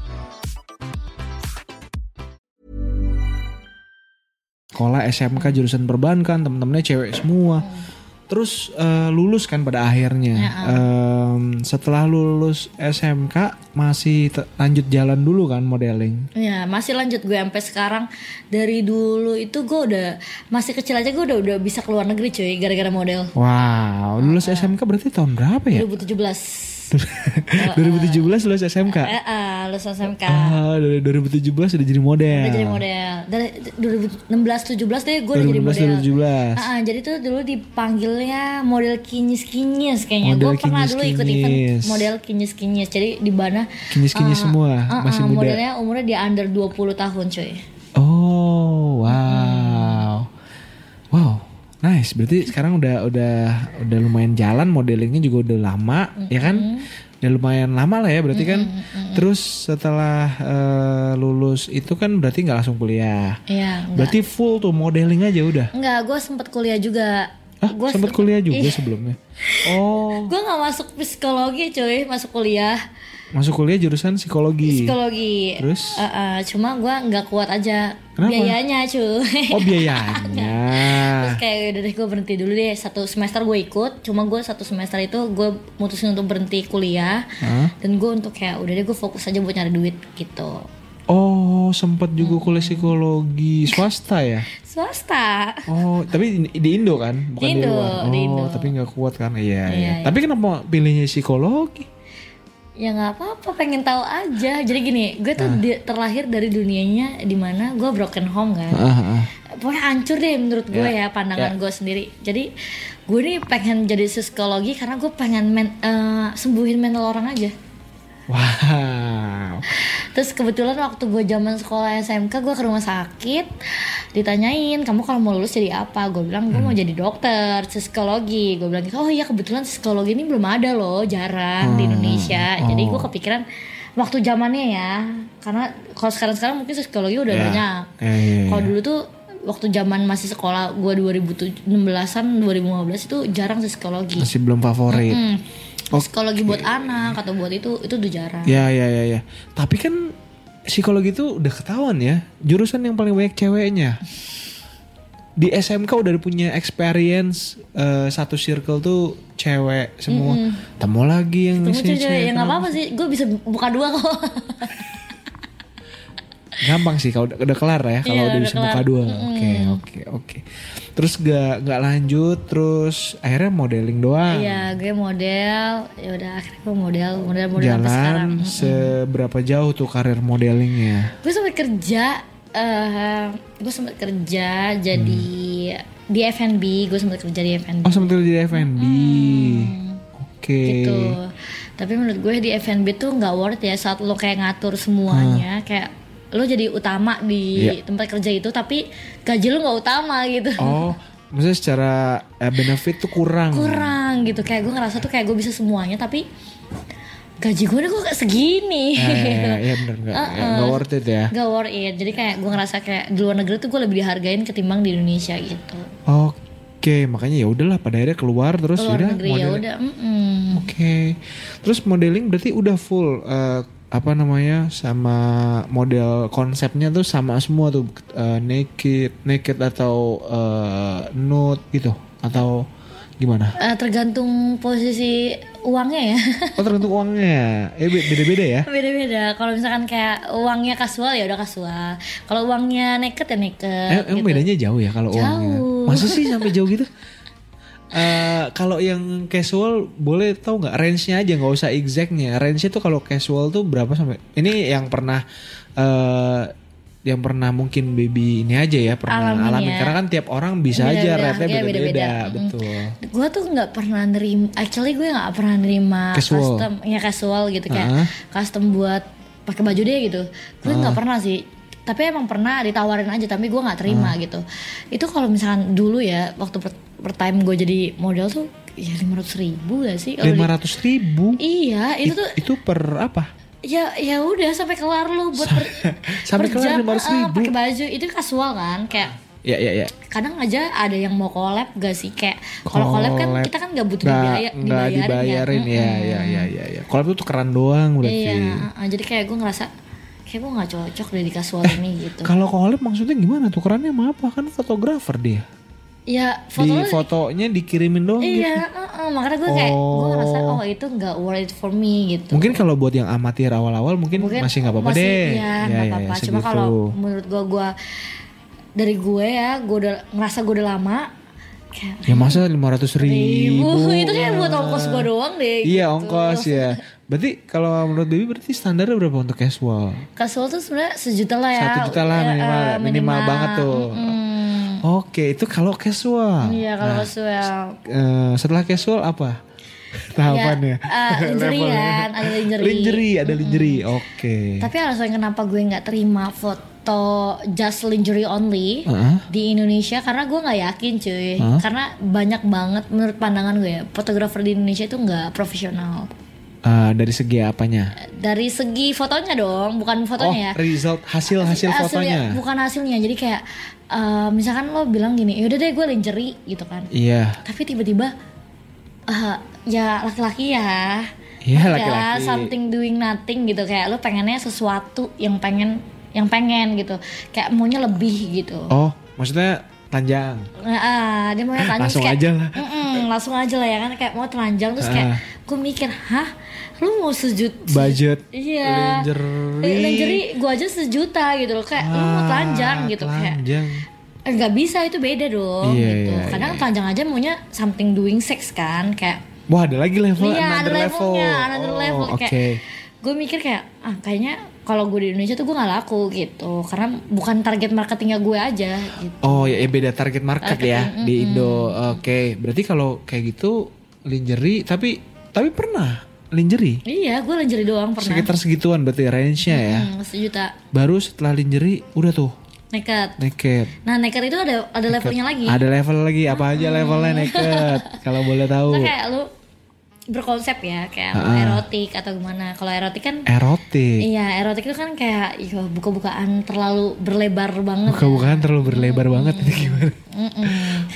Speaker 3: sekolah SMK jurusan perbankan, temen-temennya cewek semua. Terus eh, lulus kan pada akhirnya. Em, setelah lulus SMK masih te- lanjut jalan dulu kan modeling.
Speaker 4: ya masih lanjut gue sampai sekarang dari dulu itu gue udah masih kecil aja gue udah udah bisa keluar negeri cuy gara-gara model
Speaker 3: Wow, lulus SMK berarti tahun berapa ya?
Speaker 4: 2017 Iya,
Speaker 3: 2017 lulus SMK.
Speaker 4: eh eh, lulus SMK
Speaker 3: Ah, dari 2017 udah jadi model.
Speaker 4: udah jadi model dari 2016 17 deh gue udah jadi model
Speaker 3: 2016 2017.
Speaker 4: Ah, ah, jadi tuh dulu dipanggilnya model kinyis-kinyis kayaknya.
Speaker 3: Model
Speaker 4: Gue pernah dulu ikut event
Speaker 3: kinyis-kinyis.
Speaker 4: model kinyis-kinyis. Jadi di mana
Speaker 3: Kinyis-kinyis
Speaker 4: ah,
Speaker 3: semua,
Speaker 4: ah, ah,
Speaker 3: masih muda.
Speaker 4: Modelnya umurnya di under 20 tahun, cuy.
Speaker 3: Oh, wow. Wow. Nice. Berarti sekarang udah udah udah lumayan jalan modelingnya juga udah lama, ya kan? Udah lumayan lama lah ya berarti kan. Terus setelah eh, lulus itu kan berarti nggak langsung kuliah.
Speaker 4: Iya, enggak.
Speaker 3: Berarti full tuh modeling aja udah.
Speaker 4: Enggak, gue sempet kuliah juga.
Speaker 3: Ah,
Speaker 4: Gua
Speaker 3: sempat
Speaker 4: sempet-
Speaker 3: kuliah juga
Speaker 4: Iya.
Speaker 3: sebelumnya. Oh,
Speaker 4: Gue gak masuk psikologi cuy, masuk kuliah
Speaker 3: masuk kuliah jurusan psikologi.
Speaker 4: psikologi.
Speaker 3: Terus?
Speaker 4: Eh, eh, cuma gue nggak kuat aja
Speaker 3: Kenapa?
Speaker 4: biayanya cuy.
Speaker 3: Oh, biayanya.
Speaker 4: Terus kayak udah deh gue berhenti dulu deh satu semester gue ikut cuma gue satu semester itu gue mutusin untuk berhenti kuliah dan gue untuk kayak udah deh gue fokus aja buat nyari duit gitu
Speaker 3: Oh, sempat juga kuliah psikologi swasta ya?
Speaker 4: swasta
Speaker 3: Oh, tapi di- di Indo kan, bukan di,
Speaker 4: Di Indo,
Speaker 3: luar. Oh,
Speaker 4: di Indo.
Speaker 3: tapi nggak kuat kan? Iya, iya.
Speaker 4: Iya,
Speaker 3: Tapi kenapa pilihnya psikologi?
Speaker 4: ya nggak apa-apa pengen tahu aja jadi gini gue tuh di- terlahir dari dunianya dimana gue broken home kan
Speaker 3: Ah,
Speaker 4: pokoknya hancur deh menurut gue ya pandangan gue sendiri jadi gue nih pengen jadi psikologi karena gue pengen men- eh, sembuhin mental orang aja
Speaker 3: Wow.
Speaker 4: Terus kebetulan waktu gue zaman sekolah SMK gue ke rumah sakit ditanyain kamu kalau mau lulus jadi apa? Gue bilang gue
Speaker 3: Hmm.
Speaker 4: mau jadi dokter, psikologi. Gue bilang gitu, oh iya kebetulan psikologi ini belum ada loh, jarang
Speaker 3: Hmm.
Speaker 4: di Indonesia. Jadi
Speaker 3: Oh.
Speaker 4: gue kepikiran waktu zamannya ya, karena kalau sekarang-sekarang mungkin psikologi udah
Speaker 3: Ya.
Speaker 4: banyak.
Speaker 3: Iya, iya, iya.
Speaker 4: Kalau dulu tuh waktu zaman masih sekolah gue 2016-an 2015 itu jarang psikologi.
Speaker 3: Masih belum favorit.
Speaker 4: Hmm.
Speaker 3: Oh.
Speaker 4: Psikologi buat anak atau buat itu itu udah jarang.
Speaker 3: Ya, ya, ya, ya. Tapi kan psikologi itu udah ketahuan ya, jurusan yang paling banyak ceweknya. Di SMK udah punya experience eh, satu circle tuh cewek semua. Temu lagi yang
Speaker 4: Temu
Speaker 3: isinya
Speaker 4: cewek ya nggak
Speaker 3: kenapa?
Speaker 4: apa-apa sih, gue bisa buka dua kok.
Speaker 3: gampang sih kalau udah, udah kelar ya kalau
Speaker 4: Iya,
Speaker 3: udah
Speaker 4: udah
Speaker 3: bisa muka
Speaker 4: kelar.
Speaker 3: dua. Oke oke oke. Terus gak nggak lanjut terus akhirnya modeling doang.
Speaker 4: Iya, gue model. Ya udah akhirnya gue model, model model sampai sekarang.
Speaker 3: Jalan seberapa jauh tuh karir modelingnya?
Speaker 4: Gue sempat kerja, eh gue sempat kerja jadi di F&B. Gue sempat kerja di F&B.
Speaker 3: Hmm. Oh sebetulnya di F&B. Oke.
Speaker 4: gitu. Tapi menurut gue di F&B tuh nggak worth ya saat lo kayak ngatur semuanya, kayak lo jadi utama
Speaker 3: Hmm.
Speaker 4: di
Speaker 3: Iya.
Speaker 4: tempat kerja itu, tapi gaji lo nggak utama gitu.
Speaker 3: Oh maksudnya secara eh, benefit tuh kurang. ya?
Speaker 4: Kurang gitu, kayak gue ngerasa tuh kayak gue bisa semuanya, tapi gaji gue udah kok kayak segini.
Speaker 3: Eh, iya bener nggak
Speaker 4: Uh-uh.
Speaker 3: nggak worth it ya.
Speaker 4: Gak worth it. Jadi kayak gue ngerasa kayak di luar negeri tuh gue lebih dihargain ketimbang di Indonesia gitu.
Speaker 3: Oke, makanya ya udahlah pada akhirnya keluar terus
Speaker 4: Luar
Speaker 3: yaudah,
Speaker 4: negeri ya
Speaker 3: model-
Speaker 4: udah. mm-mm.
Speaker 3: Oke. Terus modeling berarti udah full eh, apa namanya sama model konsepnya tuh sama semua tuh eh, naked, naked atau eh, nude gitu atau gimana?
Speaker 4: Eh, tergantung posisi uangnya ya.
Speaker 3: Oh tergantung uangnya. Eh be- beda-beda ya.
Speaker 4: Beda-beda. Kalau misalkan kayak uangnya kasual ya udah kasual. Kalau uangnya naked ya naked.
Speaker 3: Eh, emang
Speaker 4: gitu.
Speaker 3: bedanya jauh ya kalau uangnya.
Speaker 4: Jauh.
Speaker 3: Masa sih sampai jauh gitu? Eh kalau yang casual boleh tahu nggak range-nya aja nggak usah exact-nya. Range-nya tuh kalau casual tuh berapa sampai? Ini yang pernah eh yang pernah mungkin baby ini aja ya pernah
Speaker 4: Alamin
Speaker 3: alami
Speaker 4: ya.
Speaker 3: karena kan tiap orang bisa
Speaker 4: Beda-beda,
Speaker 3: aja rate-nya
Speaker 4: harganya
Speaker 3: beda-beda,
Speaker 4: beda-beda. Mm.
Speaker 3: betul.
Speaker 4: Gue tuh nggak pernah nerima. Actually gue nggak pernah nerima
Speaker 3: Casual.
Speaker 4: custom ya casual gitu kayak
Speaker 3: Ah.
Speaker 4: custom buat pakai baju deh gitu. Gue nggak pernah sih. Tapi emang pernah ditawarin aja tapi gue nggak terima gitu. Itu kalau misalkan dulu ya waktu per, per time gue jadi model tuh ya lima ribu gak sih? Kalau di-
Speaker 3: Lima ratus ribu
Speaker 4: Iya itu tuh
Speaker 3: itu per apa?
Speaker 4: ya ya udah sampai kelar lu buat per,
Speaker 3: sampai
Speaker 4: per
Speaker 3: kelar
Speaker 4: jam,
Speaker 3: 500.000.
Speaker 4: ah, pakai baju itu kasual kan kayak
Speaker 3: Ya ya ya.
Speaker 4: kadang aja ada yang mau collab gak sih kayak kalau collab kan kita kan gak butuh
Speaker 3: Nggak-
Speaker 4: dibiaya,
Speaker 3: nggak
Speaker 4: dibayarin,
Speaker 3: dibayarin ya. ya ya ya ya. Collab tuh tukeran doang
Speaker 4: kan?
Speaker 3: berarti.
Speaker 4: iya ah, iya, jadi kayak gue ngerasa kayak gue nggak cocok deh di kasual ini gitu
Speaker 3: Kalau collab maksudnya gimana? Tukerannya sama apa? Kan fotografer dia.
Speaker 4: ya
Speaker 3: Di
Speaker 4: foto
Speaker 3: fotonya dikirimin doang gitu.
Speaker 4: iya ah, ah, makanya gue kayak gue ngerasa
Speaker 3: Oh.
Speaker 4: oh itu nggak worth it for me gitu
Speaker 3: Mungkin kalau buat yang amatir awal-awal mungkin, masih nggak apa-apa
Speaker 4: masih-
Speaker 3: deh.
Speaker 4: Iya, nggak apa-apa. Cuma
Speaker 3: segitu.
Speaker 4: kalau menurut gua gua dari gue ya, gue udah ngerasa gue udah lama kayak
Speaker 3: Ya masa 500 ribu?
Speaker 4: ribu itu kan buat ongkos gue doang deh.
Speaker 3: Iya
Speaker 4: gitu.
Speaker 3: ongkos ya. Berarti kalau menurut Baby berarti standarnya berapa untuk casual?
Speaker 4: Kasual tuh sebenarnya sejuta lah ya.
Speaker 3: Satu juta lah
Speaker 4: Ya, eh,
Speaker 3: minimal, minimal, banget tuh.
Speaker 4: Mm,
Speaker 3: Oke itu kalau casual. Nah,
Speaker 4: Iya kalau kasual.
Speaker 3: Eh, setelah casual apa? ya. Tahapannya.
Speaker 4: eh, lingerie
Speaker 3: Levelnya.
Speaker 4: kan, ada lingerie.
Speaker 3: Lingerie, ada lingerie. Oke.
Speaker 4: Tapi alasan kenapa gue nggak terima foto just lingerie only
Speaker 3: Heeh.
Speaker 4: di Indonesia karena gue nggak yakin cuy karena banyak banget menurut pandangan gue ya fotografer di Indonesia itu nggak profesional
Speaker 3: Eh, dari segi apanya?
Speaker 4: dari segi fotonya dong bukan fotonya ya
Speaker 3: Oh, result hasil hasil
Speaker 4: Hasilnya-
Speaker 3: fotonya.
Speaker 4: bukan hasilnya jadi kayak eh, misalkan lo bilang gini yaudah deh gue lingerie gitu kan
Speaker 3: Iya.
Speaker 4: tapi tiba-tiba eh, ya laki-laki ya
Speaker 3: Iya,
Speaker 4: Ada
Speaker 3: laki-laki.
Speaker 4: something doing nothing gitu kayak lu pengennya sesuatu yang pengen yang pengen gitu kayak maunya lebih gitu
Speaker 3: Oh, maksudnya panjang.
Speaker 4: Nah, ah, dia maunya telanjang
Speaker 3: Langsung
Speaker 4: terus
Speaker 3: aja lah. Ah.
Speaker 4: "Mm-mm, langsung aja lah ya kan kayak mau telanjang terus kayak gue mikir hah lu mau sejut
Speaker 3: Budget.
Speaker 4: iya
Speaker 3: Lingerie.
Speaker 4: Eh, lingerie gue aja sejuta gitu loh kayak lu mau
Speaker 3: Ah,
Speaker 4: telanjang gitu kayak
Speaker 3: telanjang.
Speaker 4: Eh, nggak bisa itu beda dong
Speaker 3: Iya,
Speaker 4: gitu
Speaker 3: iya,
Speaker 4: kadang telanjang aja maunya something doing sex kan kayak
Speaker 3: Wah, ada lagi level
Speaker 4: Iya, ada
Speaker 3: another level.
Speaker 4: levelnya, another
Speaker 3: Oh,
Speaker 4: level
Speaker 3: Oke.
Speaker 4: kayak gue mikir kayak ah kayaknya kalau gue di Indonesia tuh gue nggak laku gitu karena bukan target marketingnya gue aja gitu.
Speaker 3: Oh, ya, ya beda target market
Speaker 4: Target, mm,
Speaker 3: ya di Indo. Oke, berarti kalau kayak gitu lingerie tapi tapi pernah lingerie
Speaker 4: Iya, gue lingerie doang pernah.
Speaker 3: sekitar segituan berarti range-nya ya.
Speaker 4: Hmm, sejuta
Speaker 3: Baru setelah lingerie udah tuh
Speaker 4: nekat.
Speaker 3: naked.
Speaker 4: Nah, nekat itu ada ada levelnya lagi. Mm.
Speaker 3: Ada level lagi apa aja levelnya naked kalau boleh tahu.
Speaker 4: Itu kayak lu berkonsep ya kayak erotik atau gimana. Kalau erotik kan
Speaker 3: Erotik.
Speaker 4: Iya, erotik itu kan kayak iya, buka-bukaan terlalu berlebar banget.
Speaker 3: Buka-bukaan terlalu berlebar banget ini gimana?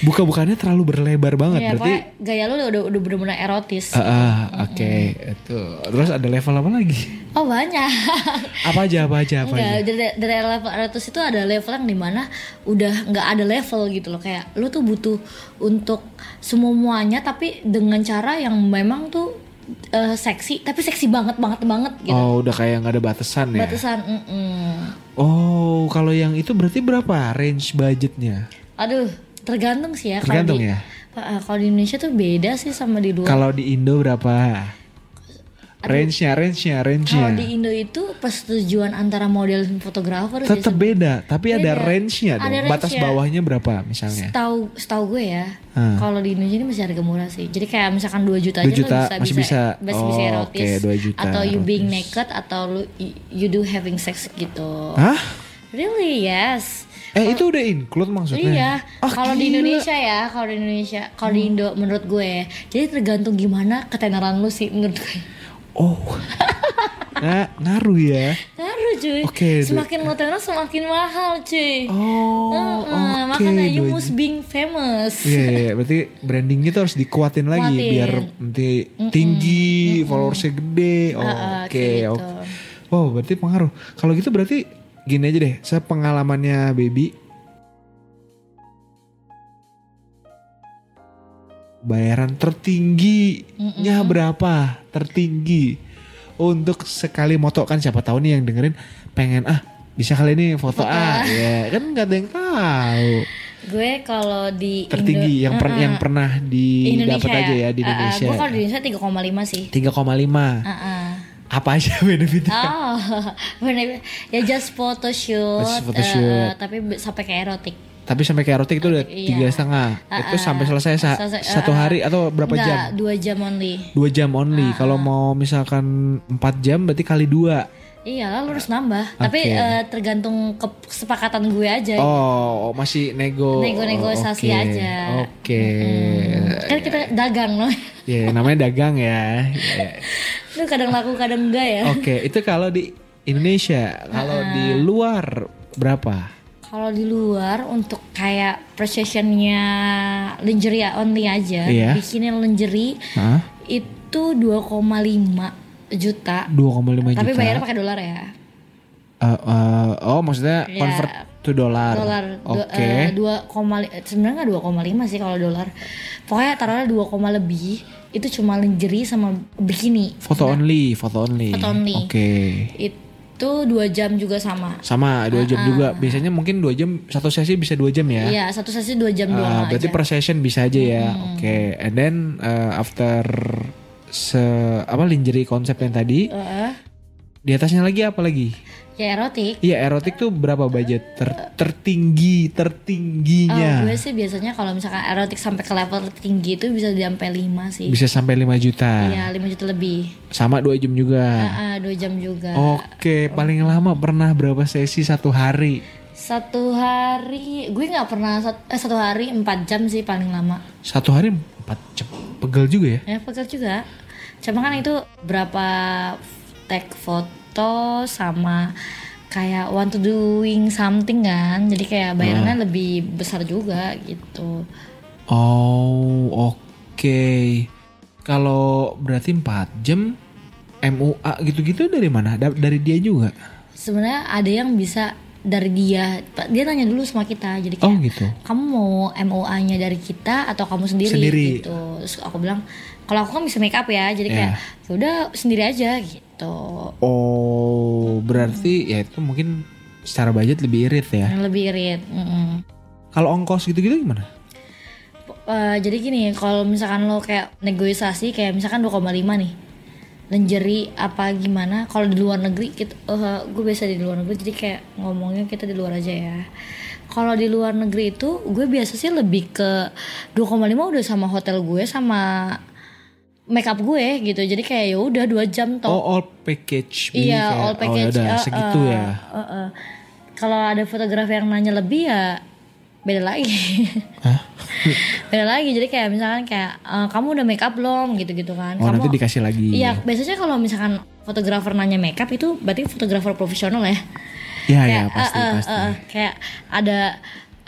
Speaker 3: Buka-bukaannya terlalu berlebar banget
Speaker 4: ya,
Speaker 3: berarti.
Speaker 4: pokoknya gaya lu udah udah bener-bener erotis.
Speaker 3: Ah, ah, oke itu. Terus ada level apa lagi?
Speaker 4: Oh, banyak.
Speaker 3: Apa aja apa aja apa
Speaker 4: Enggak,
Speaker 3: aja?
Speaker 4: dari, dari level 100 itu ada level yang dimana udah nggak ada level gitu loh kayak lu tuh butuh untuk semua muanya tapi dengan cara yang memang tuh eh, seksi tapi seksi banget banget banget gitu
Speaker 3: Oh, udah kayak nggak ada batasan ya.
Speaker 4: batasan mm-mm.
Speaker 3: Oh, kalau yang itu berarti berapa range budgetnya?
Speaker 4: aduh tergantung sih ya kalau
Speaker 3: Tergantung
Speaker 4: di-
Speaker 3: ya?
Speaker 4: Eh, kalau di Indonesia tuh beda sih sama di luar
Speaker 3: Kalau di Indo berapa? Range-nya, range-nya, range-nya.
Speaker 4: Kalau di Indo itu persetujuan antara model dan fotografer
Speaker 3: Tetap
Speaker 4: biasanya.
Speaker 3: beda, tapi ada
Speaker 4: Beda.
Speaker 3: range-nya dong.
Speaker 4: Ada
Speaker 3: Batas
Speaker 4: range-nya.
Speaker 3: bawahnya berapa misalnya?
Speaker 4: Setahu setahu gue ya,
Speaker 3: Hmm.
Speaker 4: kalau di Indonesia ini masih harga murah sih. Jadi kayak misalkan 2
Speaker 3: 2
Speaker 4: juta aja
Speaker 3: juta
Speaker 4: lu bisa
Speaker 3: masih
Speaker 4: bisa
Speaker 3: bisa. Oh,
Speaker 4: erotis
Speaker 3: oke, 2 juta
Speaker 4: atau you being
Speaker 3: erotis.
Speaker 4: naked atau lu you- you do having sex gitu.
Speaker 3: Hah?
Speaker 4: Really? Yes.
Speaker 3: Eh, itu udah include maksudnya?
Speaker 4: Iya,
Speaker 3: Ah,
Speaker 4: kalau di
Speaker 3: gila. Hmm.
Speaker 4: Indonesia ya, kalau di Indonesia, kalau di Indo menurut gue, ya. jadi tergantung gimana ketenaran lu sih menurut gue.
Speaker 3: Oh. nah, ngaruh ya.
Speaker 4: Ngaruh cuy,
Speaker 3: Oke, du-
Speaker 4: semakin lu tenar semakin mahal cuy.
Speaker 3: Oh,
Speaker 4: Heeh,
Speaker 3: oke.
Speaker 4: makanya you
Speaker 3: dua
Speaker 4: must
Speaker 3: juta.
Speaker 4: being famous.
Speaker 3: Iya, iya, berarti brandingnya tuh harus dikuatin lagi
Speaker 4: Kuatin.
Speaker 3: biar nanti tinggi, followersnya gede. Oh,
Speaker 4: Ah, ah,
Speaker 3: Oke,
Speaker 4: kayak
Speaker 3: oke.
Speaker 4: gitu.
Speaker 3: Wow, berarti pengaruh. Kalau gitu berarti gini aja deh, sepengalamannya baby bayaran tertingginya berapa? Tertinggi untuk sekali motokan siapa tahu nih yang dengerin pengen ah bisa kali ini foto ah ya kan nggak ada yang tahu
Speaker 4: Gue kalau di
Speaker 3: tertinggi yang per- yang pernah didapat aja ya di Indonesia.
Speaker 4: gue Uh, kalau di Ah. Indonesia 3,5 sih.
Speaker 3: 3,5.
Speaker 4: Heeh.
Speaker 3: Apa aja benefitnya?
Speaker 4: Oh, bener ya just photo shoot,
Speaker 3: Just photo shoot.
Speaker 4: eh, tapi be- sampai kayak erotik.
Speaker 3: Tapi sampai kayak erotik itu udah
Speaker 4: Iya.
Speaker 3: tiga setengah. Itu
Speaker 4: Ah, ah.
Speaker 3: sampai selesai sa-
Speaker 4: Selesai, ah,
Speaker 3: satu
Speaker 4: ah.
Speaker 3: hari atau berapa
Speaker 4: Nggak,
Speaker 3: jam?
Speaker 4: Dua jam only.
Speaker 3: Dua jam only. Kalau mau misalkan empat jam berarti kali dua.
Speaker 4: Iya lah, lu harus nambah. Tapi
Speaker 3: Oke.
Speaker 4: eh, tergantung kesepakatan gue aja.
Speaker 3: Oh, masih nego. Oh,
Speaker 4: Nego-negosiasi
Speaker 3: oke.
Speaker 4: Eh. aja.
Speaker 3: Oke.
Speaker 4: Kan kita dagang loh.
Speaker 3: Ya, namanya dagang ya. Ya.
Speaker 4: Lu kadang laku kadang enggak ya.
Speaker 3: Oke, itu kalau di Indonesia. Kalau di luar berapa?
Speaker 4: Kalau di luar untuk kayak processionnya lingerie only aja,
Speaker 3: Iya.
Speaker 4: bikinin lingerie
Speaker 3: Hah?
Speaker 4: itu 2,5 juta.
Speaker 3: 2,5 juta.
Speaker 4: Tapi bayar pakai dolar ya.
Speaker 3: Eh, eh, oh maksudnya
Speaker 4: Ya,
Speaker 3: convert to dollar.
Speaker 4: Dolar eh,
Speaker 3: Oke.
Speaker 4: dua koma sebenarnya nggak 2,5 sih kalau dolar. Pokoknya taruhnya 2, koma lebih itu cuma lingerie sama bikini.
Speaker 3: foto only, foto only.
Speaker 4: Foto only.
Speaker 3: Oke.
Speaker 4: Itu 2 jam juga sama.
Speaker 3: Sama dua jam juga. Biasanya mungkin dua jam satu sesi bisa dua jam ya.
Speaker 4: Iya, satu sesi 2 jam
Speaker 3: Eh,
Speaker 4: doang
Speaker 3: berarti
Speaker 4: aja.
Speaker 3: per session bisa aja ya. Oke. And then eh, after se apa lingerie konsep yang tadi
Speaker 4: Heeh.
Speaker 3: di atasnya lagi apa lagi?
Speaker 4: ya erotik.
Speaker 3: Iya erotik tuh berapa budget Ter- tertinggi
Speaker 4: Oh,
Speaker 3: tertingginya
Speaker 4: gue sih biasanya kalau misalkan erotik sampai ke level tinggi itu bisa sampai 5 sih.
Speaker 3: bisa sampai 5 juta
Speaker 4: Iya, 5 juta lebih.
Speaker 3: sama dua jam juga.
Speaker 4: Ah, 2 jam juga.
Speaker 3: Oh. Oke paling lama pernah berapa sesi satu hari?
Speaker 4: Satu hari, gue nggak pernah sat- eh, satu hari 4 jam sih paling lama.
Speaker 3: Satu hari empat jam pegel juga ya?
Speaker 4: Ya, pegel juga. Cuma kan itu berapa tag foto sama kayak want to doing something kan. Jadi kayak
Speaker 3: Nah.
Speaker 4: bayarannya lebih besar juga gitu.
Speaker 3: Oh oke. Kalau berarti empat jam MUA gitu-gitu dari mana? Da- dari dia juga?
Speaker 4: Sebenarnya ada yang bisa dari dia, dia nanya dulu sama kita. Jadi kayak
Speaker 3: Oh gitu.
Speaker 4: kamu mau MOA-nya dari kita atau kamu sendiri,
Speaker 3: Sendiri.
Speaker 4: gitu. Terus aku bilang, kalau aku kan bisa make up ya, jadi kayak yaudah sendiri aja gitu.
Speaker 3: Oh berarti ya itu mungkin secara budget lebih irit ya.
Speaker 4: Yang lebih irit. mm-mm.
Speaker 3: Kalau ongkos gitu-gitu gimana?
Speaker 4: Eh, jadi gini, kalau misalkan lo kayak negosiasi kayak misalkan 2,5 nih. Lingerie apa gimana? Kalau di luar negeri kita eh, gue biasa di luar negeri jadi kayak ngomongnya kita di luar aja ya. Kalau di luar negeri itu gue biasa sih lebih ke 2,5 udah sama hotel gue sama makeup gue gitu. Jadi kayak ya udah 2 jam toh.
Speaker 3: Oh all package. Jadi
Speaker 4: Iya,
Speaker 3: kayak,
Speaker 4: all package.
Speaker 3: Oh, ya udah,
Speaker 4: eh,
Speaker 3: segitu
Speaker 4: eh,
Speaker 3: ya.
Speaker 4: eh, eh. Kalau ada fotografer yang nanya lebih ya beda lagi. beda lagi. Jadi kayak misalkan kayak eh, kamu udah make up belum gitu-gitu kan.
Speaker 3: Oh
Speaker 4: kamu
Speaker 3: nanti dikasih lagi.
Speaker 4: Iya, biasanya kalau misalkan fotografer nanya make up itu berarti fotografer profesional ya.
Speaker 3: Iya ya,
Speaker 4: Kayak,
Speaker 3: pasti
Speaker 4: eh, eh,
Speaker 3: pasti.
Speaker 4: eh, kayak ada